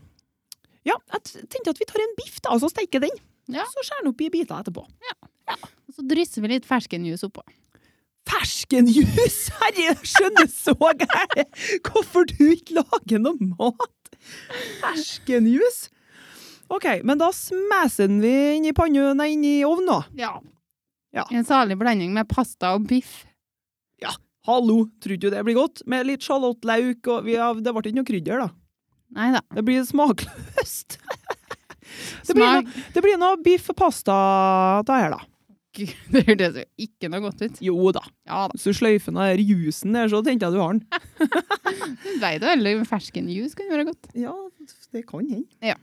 [SPEAKER 2] Ja, jeg t- tenkte at vi tar en biff, da, og så steiker den.
[SPEAKER 1] Ja.
[SPEAKER 2] Så skjærer den opp i biter etterpå.
[SPEAKER 1] Og så drysser vi litt ferskenjuice oppå.
[SPEAKER 2] Ferskenjus! Herre, jeg skjønner så gære hvorfor du ikke lager noe mat! Ferskenjus! OK, men da smeser den vi inn i panne, nei, inn i ovnen, da.
[SPEAKER 1] Ja.
[SPEAKER 2] Ja.
[SPEAKER 1] En salig blanding med pasta og biff.
[SPEAKER 2] Hallo, tror du det blir godt? Med litt sjalottløk og vi har, Det ble ikke noe krydder, da.
[SPEAKER 1] Nei da.
[SPEAKER 2] Det blir smakløst. Det blir,
[SPEAKER 1] Smak
[SPEAKER 2] noe, det blir noe biff og pasta det her, da.
[SPEAKER 1] Gud, Det hørtes jo ikke noe godt ut.
[SPEAKER 2] Jo da.
[SPEAKER 1] Ja da.
[SPEAKER 2] Hvis du sløyfer ned den jusen der, så tenker jeg du har den.
[SPEAKER 1] Nei, det er veldig ferskenjuice kan være godt.
[SPEAKER 2] Ja, det kan hende.
[SPEAKER 1] Ja.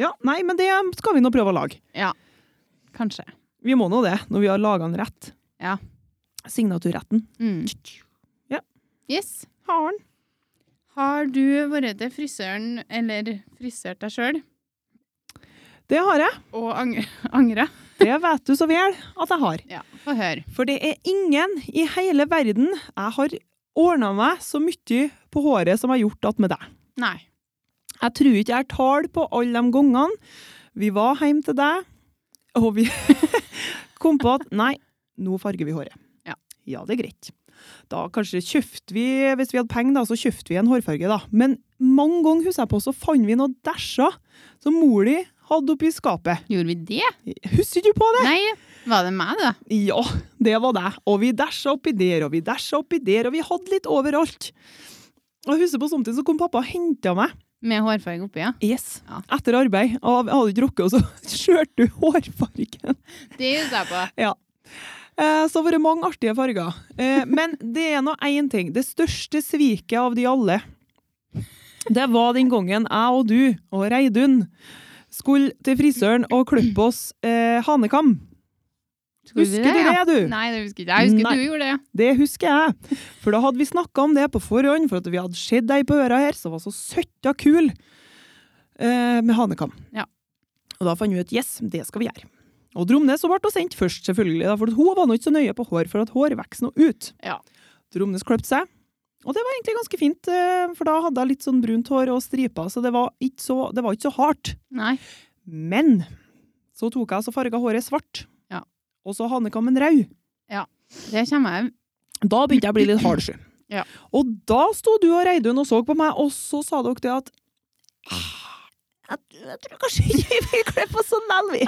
[SPEAKER 2] Ja, nei, men det skal vi nå prøve å lage.
[SPEAKER 1] Kanskje.
[SPEAKER 2] Vi må nå det, når vi har laga den rett.
[SPEAKER 1] Ja.
[SPEAKER 2] Signaturretten.
[SPEAKER 1] Mm. Yes.
[SPEAKER 2] Har den.
[SPEAKER 1] Har du vært til frisøren, eller frisørt deg sjøl,
[SPEAKER 2] Det har jeg.
[SPEAKER 1] og ang- angra?
[SPEAKER 2] Det vet du så vel at jeg har.
[SPEAKER 1] Ja, få høre.
[SPEAKER 2] For det er ingen i hele verden jeg har ordna meg så mye på håret som jeg har gjort at med deg.
[SPEAKER 1] Nei.
[SPEAKER 2] Jeg tror ikke jeg har tall på alle de gangene vi var hjemme til deg, og vi kom på at nei, nå farger vi håret.
[SPEAKER 1] Ja.
[SPEAKER 2] ja, det er greit. Da kanskje kjøpte vi, hvis vi hadde penger, da, så kjøpte vi en hårfarge, da. Men mange ganger husker jeg på, så fant vi noen dæsjer som mor di hadde oppi skapet.
[SPEAKER 1] Gjorde vi det?
[SPEAKER 2] Husker du på det?
[SPEAKER 1] Nei, var det meg, da?
[SPEAKER 2] Ja, det var det. Og vi dasha oppi der, og vi dasha oppi der, og vi hadde litt overalt. Og jeg husker på samtidig så kom pappa og henta meg.
[SPEAKER 1] Med hårfarge oppi, ja.
[SPEAKER 2] Yes.
[SPEAKER 1] Ja.
[SPEAKER 2] Etter arbeid. Og jeg hadde ikke rukket, og så skjørte du hårfargen.
[SPEAKER 1] Det husker jeg på.
[SPEAKER 2] Eh, Så har det vært mange artige farger. Eh, Men det er nå én ting. Det største sviket av de alle, det var den gangen jeg og du og Reidun skulle til frisøren og klippe oss eh, hanekam.
[SPEAKER 1] Skulle vi
[SPEAKER 2] Husker du det,
[SPEAKER 1] ja?
[SPEAKER 2] du?
[SPEAKER 1] Nei, det husker ikke jeg. Jeg husker
[SPEAKER 2] Nei.
[SPEAKER 1] du gjorde det.
[SPEAKER 2] Det husker jeg. For da hadde vi snakka om det på forhånd, for at vi hadde sett ei på øra her som var så søtta kul eh, med hanekam.
[SPEAKER 1] Ja.
[SPEAKER 2] Og da fant vi ut yes, det skal vi gjøre. Og Dromnes hun ble hun sendt først, selvfølgelig, da, for hun var nå ikke så nøye på hår, for at hår vokser nå ut.
[SPEAKER 1] Ja.
[SPEAKER 2] Dromnes kløpte seg, og det var egentlig ganske fint, eh, for da hadde jeg litt sånn brunt hår og striper, så det var ikke så, det var ikke så hardt.
[SPEAKER 1] Nei.
[SPEAKER 2] Men så tok jeg og farga håret svart,
[SPEAKER 1] Ja.
[SPEAKER 2] og så hanekammen rød.
[SPEAKER 1] Det kommer jeg
[SPEAKER 2] Da begynte jeg å bli litt halvsky.
[SPEAKER 1] Ja.
[SPEAKER 2] Og da sto du og Reidun og så på meg, og så sa dere det at «Ah, jeg, jeg tror kanskje ikke vi vil klippe oss sånn vel, vi.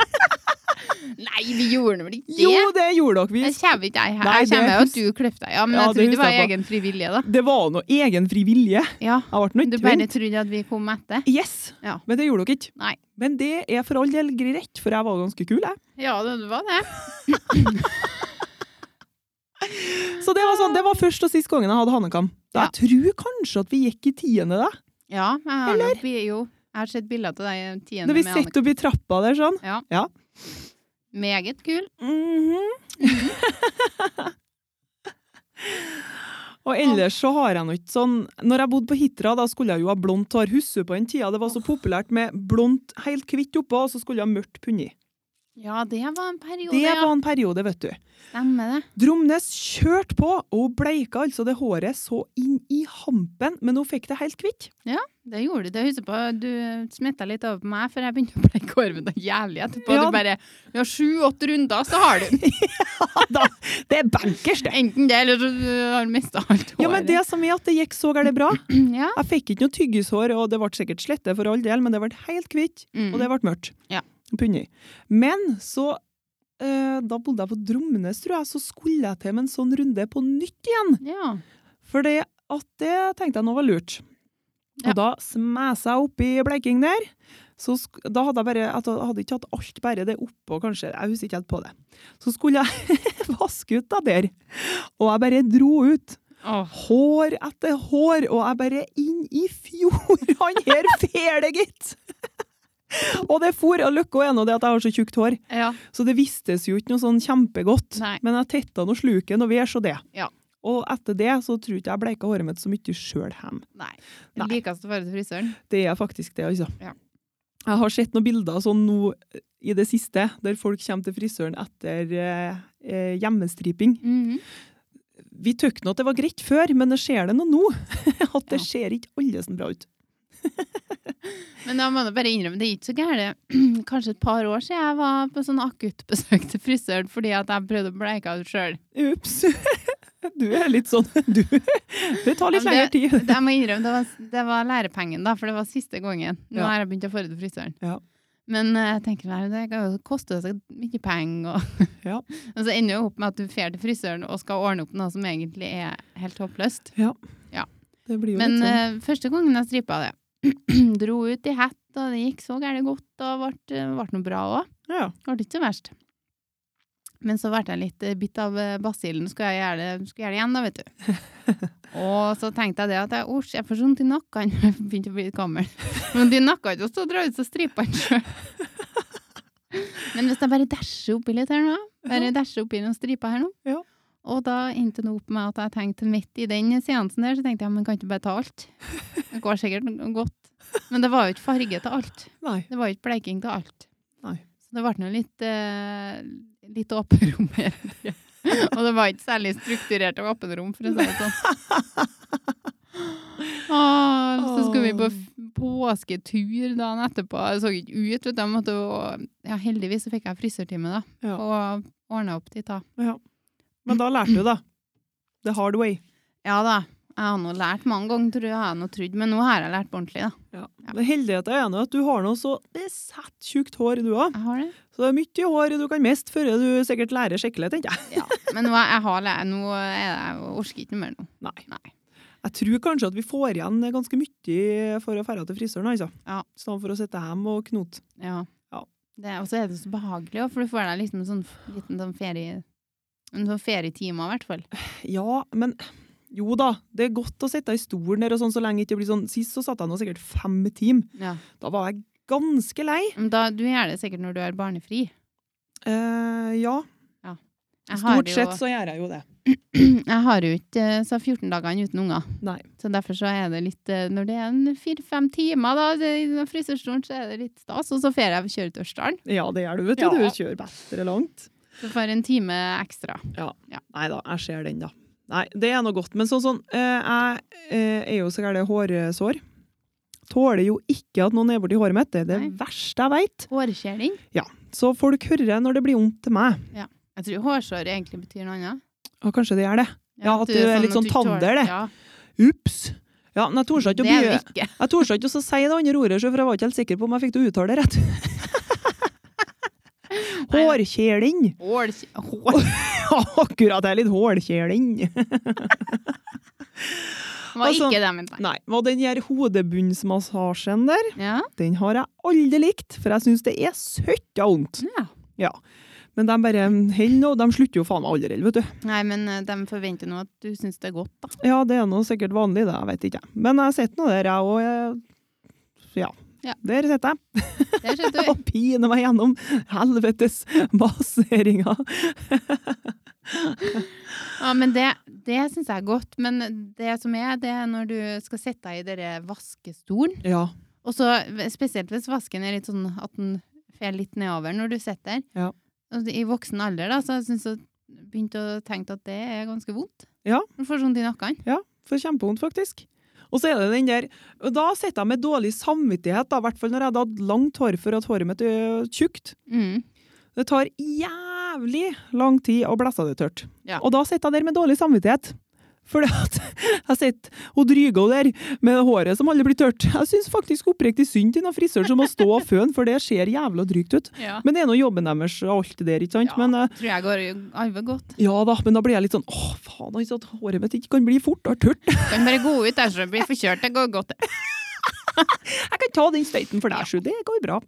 [SPEAKER 1] Nei, vi gjorde vel ikke det?
[SPEAKER 2] Jo, det gjorde
[SPEAKER 1] Jeg
[SPEAKER 2] dere. Vi.
[SPEAKER 1] kommer ikke jeg her.
[SPEAKER 2] Nei,
[SPEAKER 1] Jeg kommer
[SPEAKER 2] det
[SPEAKER 1] jo at
[SPEAKER 2] hus-
[SPEAKER 1] du kløp deg. Ja, men
[SPEAKER 2] Ja,
[SPEAKER 1] jeg
[SPEAKER 2] det
[SPEAKER 1] trodde det
[SPEAKER 2] husker
[SPEAKER 1] var
[SPEAKER 2] jeg på.
[SPEAKER 1] egen frivillige, da.
[SPEAKER 2] Det var noe egen frivillige.
[SPEAKER 1] Ja.
[SPEAKER 2] Jeg ble
[SPEAKER 1] Du
[SPEAKER 2] nødt
[SPEAKER 1] bare trodde at vi kom etter.
[SPEAKER 2] Yes,
[SPEAKER 1] Ja.
[SPEAKER 2] men det gjorde dere ikke.
[SPEAKER 1] Nei.
[SPEAKER 2] Men det er for all del greit, for jeg var ganske kul, jeg.
[SPEAKER 1] Ja, det det var det.
[SPEAKER 2] Så det var sånn, det var først og sist gangen jeg hadde hannekam.
[SPEAKER 1] Ja.
[SPEAKER 2] Jeg tror kanskje at vi gikk i tiende da.
[SPEAKER 1] Ja, jeg har nok bi- jo. Jeg har sett bilder av deg i tiende
[SPEAKER 2] Når vi
[SPEAKER 1] med Annika.
[SPEAKER 2] sitter oppe i trappa der sånn.
[SPEAKER 1] Meget kul.
[SPEAKER 2] Mhm. Og ellers så har jeg nå ikke sånn Når jeg bodde på Hitra, da skulle jeg jo ha blondt hår. Husker du på den tida det var så populært med blondt helt hvitt oppå, og så skulle jeg ha mørkt punni.
[SPEAKER 1] Ja, det var en periode,
[SPEAKER 2] Det
[SPEAKER 1] ja.
[SPEAKER 2] var en periode, vet du.
[SPEAKER 1] Stemmer det.
[SPEAKER 2] Dromnes kjørte på, og hun bleika altså det håret så inn i hampen, men hun fikk det helt hvitt.
[SPEAKER 1] Det gjorde du. Jeg husker på du smitta litt over på meg, for jeg begynte å bli korven deg jævlig etterpå.
[SPEAKER 2] Ja.
[SPEAKER 1] Du bare Vi har sju-åtte runder, så har du den.
[SPEAKER 2] Da, det er bankers, det!
[SPEAKER 1] Enten det, eller så du har mista alt håret.
[SPEAKER 2] Ja, men det som er at det gikk så gærent bra.
[SPEAKER 1] Ja.
[SPEAKER 2] Jeg fikk ikke noe tyggishår, og det ble sikkert slette for all del, men det ble helt hvitt.
[SPEAKER 1] Mm.
[SPEAKER 2] Og det ble mørkt.
[SPEAKER 1] Ja.
[SPEAKER 2] Punni. Men så eh, Da bodde jeg på Dromnes, tror jeg, så skulle jeg til med en sånn runde på nytt igjen.
[SPEAKER 1] ja.
[SPEAKER 2] For det at det tenkte jeg nå var lurt.
[SPEAKER 1] Ja.
[SPEAKER 2] Og da smesa jeg oppi bleiking der. Så sk da hadde jeg bare jeg hadde ikke hatt alt bare det oppå, kanskje. Jeg husker ikke helt på det. Så skulle jeg vaske ut da der. Og jeg bare dro ut.
[SPEAKER 1] Åh.
[SPEAKER 2] Hår etter hår, og jeg bare inn i fjordene her, fæle gitt! Og det for, og løkka er nå det at jeg har så tjukt hår,
[SPEAKER 1] Ja.
[SPEAKER 2] så det vistes jo ikke noe sånn kjempegodt.
[SPEAKER 1] Nei.
[SPEAKER 2] Men jeg tetta nå sluken og vi er så det.
[SPEAKER 1] Ja.
[SPEAKER 2] Og etter det så tror ikke jeg bleika håret mitt så mye sjøl hjem.
[SPEAKER 1] Nei. Det
[SPEAKER 2] Nei.
[SPEAKER 1] likeste å dra til frisøren.
[SPEAKER 2] Det er faktisk det, altså.
[SPEAKER 1] Ja.
[SPEAKER 2] Jeg har sett noen bilder sånn nå eh, i det siste, der folk kommer til frisøren etter eh, eh, hjemmestriping.
[SPEAKER 1] Mhm.
[SPEAKER 2] Vi tøkte nå at det var greit før, men det ser det nå nå. At det ser ikke alle som bra ut.
[SPEAKER 1] Men jeg må da bare innrømme, det er ikke så gærent. Kanskje et par år siden jeg var på sånn akuttbesøk til frisøren fordi at jeg prøvde å bleike ut sjøl.
[SPEAKER 2] Ups. Du er litt sånn du, Det tar
[SPEAKER 1] Ja,
[SPEAKER 2] litt
[SPEAKER 1] men
[SPEAKER 2] lengre tid.
[SPEAKER 1] Det- Jeg må innrømme, det var, det var lærepengen, da, for det var siste gangen. Nå
[SPEAKER 2] Ja.
[SPEAKER 1] har jeg begynt å få det til frisøren.
[SPEAKER 2] Ja.
[SPEAKER 1] Men eh, jeg tenker nei, det kan jo koste så mye penger. Og,
[SPEAKER 2] Ja.
[SPEAKER 1] og så ender jo opp med at du drar til frisøren og skal ordne opp noe som egentlig er helt håpløst.
[SPEAKER 2] Det blir jo
[SPEAKER 1] Men
[SPEAKER 2] litt sånn.
[SPEAKER 1] eh, første gangen jeg stripa det, dro ut i hett, og det gikk så gærent godt, og ble, ble noe bra òg.
[SPEAKER 2] sånn. Ja.
[SPEAKER 1] Det ble ikke så verst. Men så ble jeg litt eh, bitt av eh, basillen. Skulle jeg gjøre det, skulle jeg gjøre det igjen, da, vet du. og så tenkte jeg det at jeg, «Osj, jeg får sånn til nakken. Jeg begynte å bli litt gammel. Men de nakka ikke å stå og dra ut så stripene sjøl. Men hvis jeg bare dasher oppi litt her nå, bare dasher oppi noen striper her nå
[SPEAKER 2] Ja.
[SPEAKER 1] Og da endte det opp med at jeg tenkte midt i den seansen der, så tenkte jeg men kan ikke bare ta alt? Det går sikkert godt. Men det var jo ikke farge til alt.
[SPEAKER 2] Nei.
[SPEAKER 1] Det var jo ikke bleiking til alt.
[SPEAKER 2] Nei.
[SPEAKER 1] Så det ble nå litt, eh, litt åpenrom her. Og det var ikke særlig strukturert og åpenrom, for å si det sånn. Åh, så skulle vi på f- påsketur dagen etterpå. Jeg så ikke ut, vet du. Jeg måtte, jo- ja, heldigvis så fikk jeg frisørtime, da.
[SPEAKER 2] Ja.
[SPEAKER 1] Og ordna opp dit, da.
[SPEAKER 2] Ja. Men da lærte du, da. The hard way.
[SPEAKER 1] Ja da. Jeg har nå lært mange ganger, tror jeg. jeg har nå trodd, men nå har jeg lært på ordentlig, da.
[SPEAKER 2] Ja. Men Heldigheten er nå at du har noe så besatt tjukt hår, du òg.
[SPEAKER 1] Jeg har det.
[SPEAKER 2] Så det er mye hår du kan miste før du sikkert lærer skikkelig, tenker jeg.
[SPEAKER 1] Ja. Men nå, er- jeg har, lært- nå er det, jeg orker ikke mer nå.
[SPEAKER 2] Nei.
[SPEAKER 1] Nei.
[SPEAKER 2] Jeg tror kanskje at vi får igjen ganske mye for å dra til frisøren, altså.
[SPEAKER 1] Ja.
[SPEAKER 2] I stedet for å sitte hjemme og knote.
[SPEAKER 1] Ja.
[SPEAKER 2] Ja.
[SPEAKER 1] Det, og så er det så behagelig, også, for du får deg liksom en sånn f- liten sånn ferie... En sånn ferietime, i hvert fall.
[SPEAKER 2] Ja, men jo da, det er godt å sitte i stolen der og sånn så lenge det ikke blir sånn. Sist så satt jeg nå sikkert fem timer.
[SPEAKER 1] Ja.
[SPEAKER 2] Da var jeg ganske lei.
[SPEAKER 1] Men da, du gjør det sikkert når du er barnefri.
[SPEAKER 2] Eh, ja,
[SPEAKER 1] Jeg har
[SPEAKER 2] stort
[SPEAKER 1] det
[SPEAKER 2] sett så gjør jeg jo det.
[SPEAKER 1] Jo, jeg har jo ikke eh, så 14 dagene uten unger.
[SPEAKER 2] Nei.
[SPEAKER 1] Så derfor så er det litt eh, Når det er en fire-fem timer da, det- i frisørstolen, så er det litt stas. Og så får jeg kjøre til Ørsdalen.
[SPEAKER 2] Ja, det gjør du, vet du.
[SPEAKER 1] Ja.
[SPEAKER 2] Du kjører bedre langt.
[SPEAKER 1] Så får jeg en time ekstra.
[SPEAKER 2] Nei da, jeg ser den, da. Nei, det er noe godt. Men sånn, sånn eh, jeg eh, er jo så gæren hårsår. Tåler jo ikke at noen er borti håret mitt. Det er det
[SPEAKER 1] Nei.
[SPEAKER 2] verste jeg veit.
[SPEAKER 1] Hårskjeling.
[SPEAKER 2] Så folk hører når det blir vondt til meg.
[SPEAKER 1] Jeg tror hårsår egentlig betyr noe annet.
[SPEAKER 2] Og kanskje det gjør det. Ja, at du er litt
[SPEAKER 1] at
[SPEAKER 2] sånn
[SPEAKER 1] du ikke tåler-
[SPEAKER 2] tander, det.
[SPEAKER 1] Ja,
[SPEAKER 2] Ups! Ja, men jeg torde ikke å
[SPEAKER 1] det er
[SPEAKER 2] begynne.
[SPEAKER 1] det ikke.
[SPEAKER 2] Jeg torde ikke å si det andre ordet, så for jeg var ikke helt sikker på om jeg fikk til å uttale det rett. Hårkjeling.
[SPEAKER 1] Hårskje- Hår...
[SPEAKER 2] Ja, Akkurat, det er litt hålkjeling.
[SPEAKER 1] Var
[SPEAKER 2] Altså-
[SPEAKER 1] ikke det jeg mente.
[SPEAKER 2] Nei, og den her hodebunnsmassasjen der,
[SPEAKER 1] Ja.
[SPEAKER 2] den har jeg aldri likt, for jeg syns det er søtta vondt.
[SPEAKER 1] ja.
[SPEAKER 2] Men de bare holder nå, de slutter jo faen meg aldri, vet du.
[SPEAKER 1] Nei, men eh, de forventer nå at du syns det er godt, da.
[SPEAKER 2] Ja, det er nå sikkert vanlig, det, jeg vet ikke. Men jeg sitter nå der, jeg òg. Ja.
[SPEAKER 1] Ja.
[SPEAKER 2] Der sitter jeg
[SPEAKER 1] Det skjønte du.
[SPEAKER 2] og piner meg gjennom helvetes baseringa.
[SPEAKER 1] Ja, men det, det syns jeg er godt. Men det som er, det er når du skal sitte i denne vaskestolen,
[SPEAKER 2] Ja.
[SPEAKER 1] og så spesielt hvis vasken er litt sånn at den fer litt nedover når du sitter der.
[SPEAKER 2] Ja.
[SPEAKER 1] Og I voksen alder, da, så syns jeg begynte å tenke at det er ganske vondt.
[SPEAKER 2] Ja.
[SPEAKER 1] Du får sånt i nakken.
[SPEAKER 2] Ja, for kjempevondt, faktisk. Og så er det den der, og da sitter jeg med dårlig samvittighet, da, i hvert fall når jeg hadde hatt langt hår for at håret mitt er tjukt.
[SPEAKER 1] Mm.
[SPEAKER 2] Det tar jævlig lang tid å blæsse det tørt.
[SPEAKER 1] Ja.
[SPEAKER 2] Og da sitter jeg der med dårlig samvittighet. Fordi at jeg sitter og dryger der med håret som aldri blir tørt. Jeg syns faktisk oppriktig synd til noen frisør som må stå og føne, for det ser jævla drygt ut.
[SPEAKER 1] Ja.
[SPEAKER 2] Men det er nå jobben deres og alt det der, ikke sant?
[SPEAKER 1] Ja.
[SPEAKER 2] Men eh,
[SPEAKER 1] Tror jeg går arve godt.
[SPEAKER 2] ja da, men da blir jeg litt sånn åh, faen, altså, at håret mitt ikke kan bli fortere tørt.
[SPEAKER 1] Kan bare gå ut dersom du blir forkjørt. Det går godt, det.
[SPEAKER 2] Jeg kan ta den støyten for deg, Sju. Det går bra.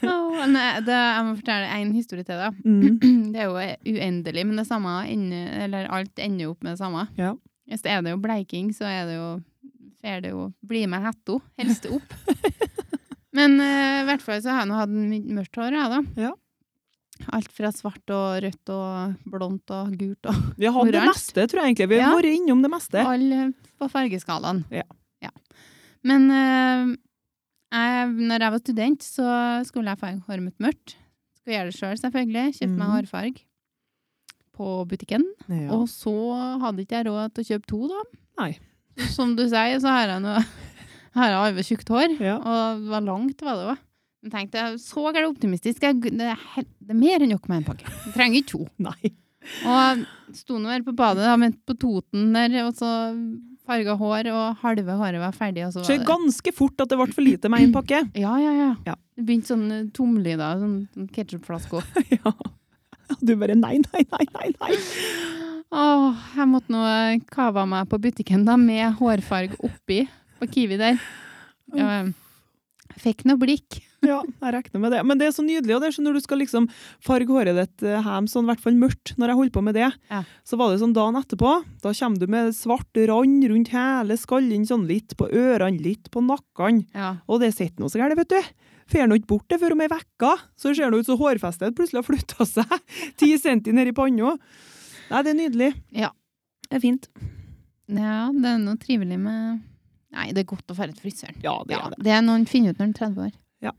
[SPEAKER 1] Å, nei, eh, det. Jeg må fortelle en historie til deg.
[SPEAKER 2] Mm.
[SPEAKER 1] Det er jo eh, uendelig, men det samme ender, eller alt ender jo opp med det samme.
[SPEAKER 2] Ja.
[SPEAKER 1] Hvis det er det jo bleiking, så er det jo får det jo bli med hetta, helst det opp. Men eh, i hvert fall så har jeg nå hatt my- mørkt hår, jeg, da.
[SPEAKER 2] Ja.
[SPEAKER 1] Alt fra svart og rødt og blondt og gult og
[SPEAKER 2] Vi har hatt det
[SPEAKER 1] Oransje.
[SPEAKER 2] meste, tror jeg egentlig. Vi har
[SPEAKER 1] Ja.
[SPEAKER 2] vært innom det meste.
[SPEAKER 1] alle eh, på fargeskalaen.
[SPEAKER 2] Ja.
[SPEAKER 1] Men eh, jeg, når jeg var student, så skulle jeg farge håret mitt mørkt. Skulle gjøre det sjøl, selv, selvfølgelig. Kjøpte meg
[SPEAKER 2] Mhm.
[SPEAKER 1] hårfarge på butikken.
[SPEAKER 2] Ja.
[SPEAKER 1] Og så hadde ikke jeg råd til å kjøpe to, da.
[SPEAKER 2] Nei.
[SPEAKER 1] Som du sier, så har jeg, noe, har jeg arvet tjukt hår.
[SPEAKER 2] Ja.
[SPEAKER 1] Og det var langt, var det òg. Men tenkte jeg, så er det optimistisk. Jeg, det, er, hel- det er mer enn nok med en pakke. Jeg trenger ikke to.
[SPEAKER 2] Nei.
[SPEAKER 1] Og sto nå her på badet, da, men på Toten der, og så farga hår, og halve håret var ferdig, og så
[SPEAKER 2] Så
[SPEAKER 1] var det
[SPEAKER 2] ganske fort at det ble for lite med én pakke.
[SPEAKER 1] Ja, ja, ja.
[SPEAKER 2] Ja.
[SPEAKER 1] Det begynte sånn eh, tomlyder, sånn, sånn ketsjupflaske òg.
[SPEAKER 2] Ja. Og Du bare nei, nei, nei, nei. nei.
[SPEAKER 1] Åh, jeg måtte nå eh, kava meg på butikken da, med hårfarge oppi på Kiwi der. Ja, Jeg fikk noe blikk.
[SPEAKER 2] Ja, jeg regner med det. Men det er så nydelig, og det er sånn når du skal liksom farge håret ditt eh, hjem, sånn i hvert fall mørkt, når jeg holdt på med det,
[SPEAKER 1] Ja.
[SPEAKER 2] så var det sånn dagen etterpå, da kommer du med svart rand rundt hele skallen, sånn litt på ørene, litt på nakken,
[SPEAKER 1] Ja.
[SPEAKER 2] og det sitter noe så gærent, vet du. Fer nå ikke bort det før om ei uke, så ser det ut som hårfestet plutselig har flytta seg ti centi ned i panna. Nei, det er nydelig.
[SPEAKER 1] Ja.
[SPEAKER 2] Det er fint.
[SPEAKER 1] ja, det er noe trivelig med Nei, det er godt å dra til frisøren.
[SPEAKER 2] Ja, det
[SPEAKER 1] Ja,
[SPEAKER 2] er det.
[SPEAKER 1] det er noen finner ut når den er 30 år.
[SPEAKER 2] Ja.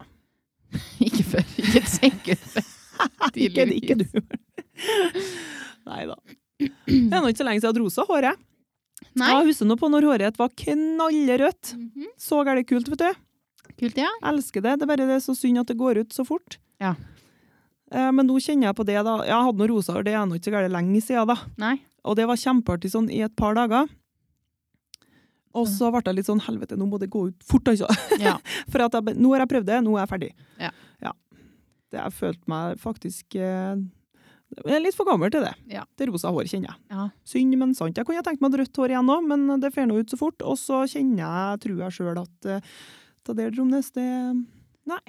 [SPEAKER 1] ikke før. Ikke tenk ut før.
[SPEAKER 2] Ikke, ikke du. Nei da. Det er nå ikke så lenge siden jeg hadde rosa hår, jeg.
[SPEAKER 1] Nei.
[SPEAKER 2] Jeg husker nå på når håret var knallrødt.
[SPEAKER 1] Mhm.
[SPEAKER 2] Så gærent kult, vet du.
[SPEAKER 1] Kult, ja.
[SPEAKER 2] Elsker det. Det er bare det er så synd at det går ut så fort.
[SPEAKER 1] Ja.
[SPEAKER 2] Eh, Men nå kjenner jeg på det, da. Jeg hadde noe rosa hår, det er nå ikke så gærent lenge siden, da.
[SPEAKER 1] Nei.
[SPEAKER 2] Og det var kjempeartig sånn i et par dager. Og så ble jeg litt sånn helvete, nå må det gå ut fort, altså.
[SPEAKER 1] Ja.
[SPEAKER 2] For at jeg, be- nå har jeg prøvd det, nå er jeg ferdig.
[SPEAKER 1] Ja.
[SPEAKER 2] Det, jeg følte meg faktisk eh, Jeg er litt for gammel til det.
[SPEAKER 1] Ja.
[SPEAKER 2] Til rosa hår, kjenner jeg.
[SPEAKER 1] Ja.
[SPEAKER 2] Synd, men sant. Jeg kunne tenkt meg et rødt hår igjen òg, men det fer nå ut så fort. Og så kjenner jeg, tror jeg sjøl, at eh, det der, Dromnes, det Nei,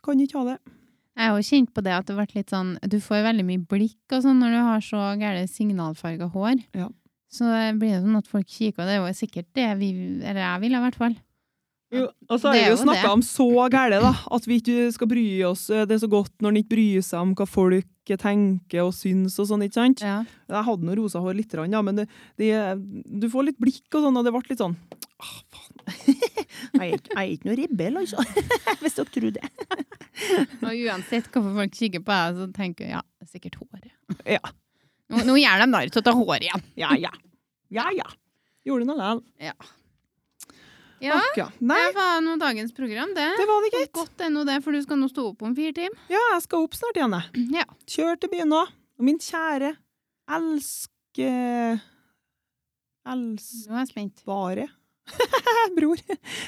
[SPEAKER 2] kan ikke ha det.
[SPEAKER 1] Jeg har jo kjent på det at det ble litt sånn Du får veldig mye blikk og sånn når du har så gæle signalfarga hår.
[SPEAKER 2] Ja.
[SPEAKER 1] Så blir det sånn at folk kikker, og det er jo sikkert det vi Eller jeg ville i hvert fall.
[SPEAKER 2] Jo, og
[SPEAKER 1] Det
[SPEAKER 2] så har vi
[SPEAKER 1] er
[SPEAKER 2] jo
[SPEAKER 1] jo det.
[SPEAKER 2] snakka om så gæle, da. At vi ikke skal bry oss. eh, Det er så godt når en ikke bryr seg om hva folk tenker og syns og sånn, ikke sant?
[SPEAKER 1] Ja.
[SPEAKER 2] Jeg hadde noe rosa hår litt, ja, men det, det, du får litt blikk og sånn, og det ble litt sånn Åh, faen. jeg, er ikke, jeg er ikke noe rebell, altså. Hvis dere tror det.
[SPEAKER 1] Og uansett hvorfor folk kikker på deg, så tenker jeg ja, det er sikkert håret.
[SPEAKER 2] Ja.
[SPEAKER 1] Nå, nå gjør de narr av å ta håret igjen.
[SPEAKER 2] Ja, ja. Ja, ja. Gjorde det nå likevel.
[SPEAKER 1] Ja,
[SPEAKER 2] Akkurat. Nei,
[SPEAKER 1] det var nå dagens program, det.
[SPEAKER 2] det var det ikke.
[SPEAKER 1] Godt ennå det, for du skal nå stå opp om fire timer.
[SPEAKER 2] Ja, jeg skal opp snart igjen, jeg.
[SPEAKER 1] Ja.
[SPEAKER 2] Kjør til byen nå. Og min kjære elske... Elskbare
[SPEAKER 1] Nå er jeg spent.
[SPEAKER 2] bror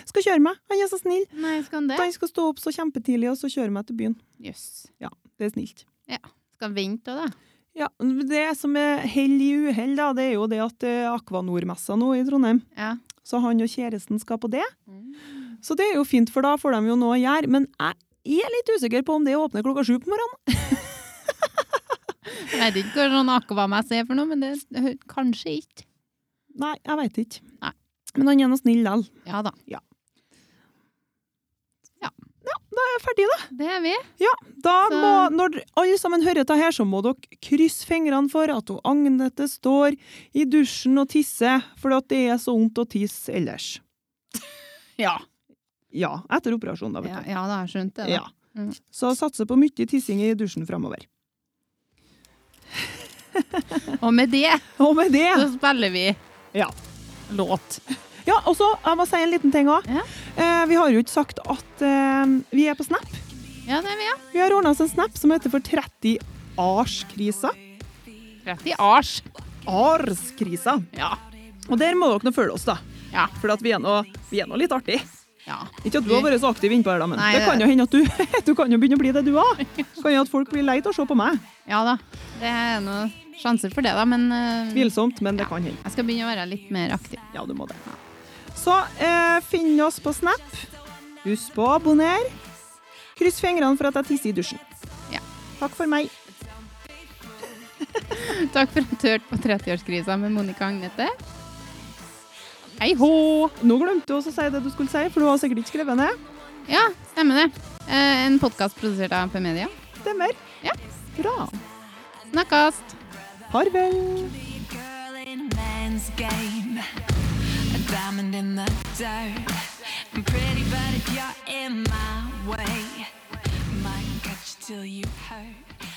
[SPEAKER 2] skal kjøre meg. Han er så snill.
[SPEAKER 1] Nei, skal han det?
[SPEAKER 2] Han skal stå opp så kjempetidlig og så kjøre meg til byen.
[SPEAKER 1] Jøss.
[SPEAKER 2] Det er snilt.
[SPEAKER 1] Skal han vente da, da?
[SPEAKER 2] Ja, Det som er hell i uhell, da, det er jo det at eh, Akvanor-messa nå i Trondheim.
[SPEAKER 1] Ja.
[SPEAKER 2] Så han og kjæresten skal på det. Så det er jo fint, for da får de jo noe å gjøre. Men jeg er litt usikker på om det åpner klokka sju på morgenen.
[SPEAKER 1] Jeg vet ikke hva sånn akvamess er for noe, men det hø- kanskje ikke.
[SPEAKER 2] Nei, jeg veit ikke.
[SPEAKER 1] Nei.
[SPEAKER 2] Men han er nå snill likevel.
[SPEAKER 1] Ja da.
[SPEAKER 2] Jeg er ferdig, da.
[SPEAKER 1] Det er vi.
[SPEAKER 2] da
[SPEAKER 1] Så-
[SPEAKER 2] må, når alle sammen hører dette her, så må dere krysse fingrene for at hun Agnete står i dusjen og tisser, for at det er så vondt å tisse ellers.
[SPEAKER 1] Ja.
[SPEAKER 2] Ja, etter operasjonen, da, vet du.
[SPEAKER 1] Ja, ja da, jeg skjønte det. da.
[SPEAKER 2] Ja.
[SPEAKER 1] Mm.
[SPEAKER 2] Så satser på mye tissing i dusjen framover.
[SPEAKER 1] Og med det
[SPEAKER 2] Og med det
[SPEAKER 1] så spiller vi
[SPEAKER 2] Ja.
[SPEAKER 1] låt.
[SPEAKER 2] ja og så jeg må si en liten ting òg.
[SPEAKER 1] Ja.
[SPEAKER 2] Eh, vi har jo ikke sagt at eh, vi er på Snap.
[SPEAKER 1] Ja, det er vi, ja.
[SPEAKER 2] Vi har ordna oss en Snap som heter for 30 Arskrisa.
[SPEAKER 1] 30 ars.
[SPEAKER 2] Arskrisa.
[SPEAKER 1] Ja.
[SPEAKER 2] Og der må dere nå følge oss, da.
[SPEAKER 1] Ja.
[SPEAKER 2] For at vi er nå vi er nå litt artig.
[SPEAKER 1] ja.
[SPEAKER 2] Ikke at du har vært så aktiv innpå her, da, men
[SPEAKER 1] Nei,
[SPEAKER 2] det
[SPEAKER 1] det-
[SPEAKER 2] kan jo hende at du, du kan jo begynne å bli det, du òg. Kan jo at folk blir lei av å se på meg.
[SPEAKER 1] Ja da. Det er noen sjanser for det, da, men eh,
[SPEAKER 2] Tvilsomt, men det kan hende.
[SPEAKER 1] jeg skal begynne å være litt mer aktiv.
[SPEAKER 2] Ja, du må det. Så eh, finn oss på Snap. Husk på å abonnere. Kryss fingrene for at jeg tisser i dusjen.
[SPEAKER 1] Ja.
[SPEAKER 2] Takk for meg.
[SPEAKER 1] Takk for at du hørte på 30-årskrisa med Monica og Agnete. Hei hå!
[SPEAKER 2] Nå glemte du også å si det du skulle si, for du har sikkert ikke skrevet ned.
[SPEAKER 1] Ja, stemmer det. Eh, en podkast produsert av P-media.
[SPEAKER 2] Stemmer.
[SPEAKER 1] Ja.
[SPEAKER 2] Bra.
[SPEAKER 1] Snakkast!
[SPEAKER 2] Farvel.
[SPEAKER 3] be a girl in a man's game. A diamond in the dirt. I'm pretty, but if you're in my way, might catch you till you hurt.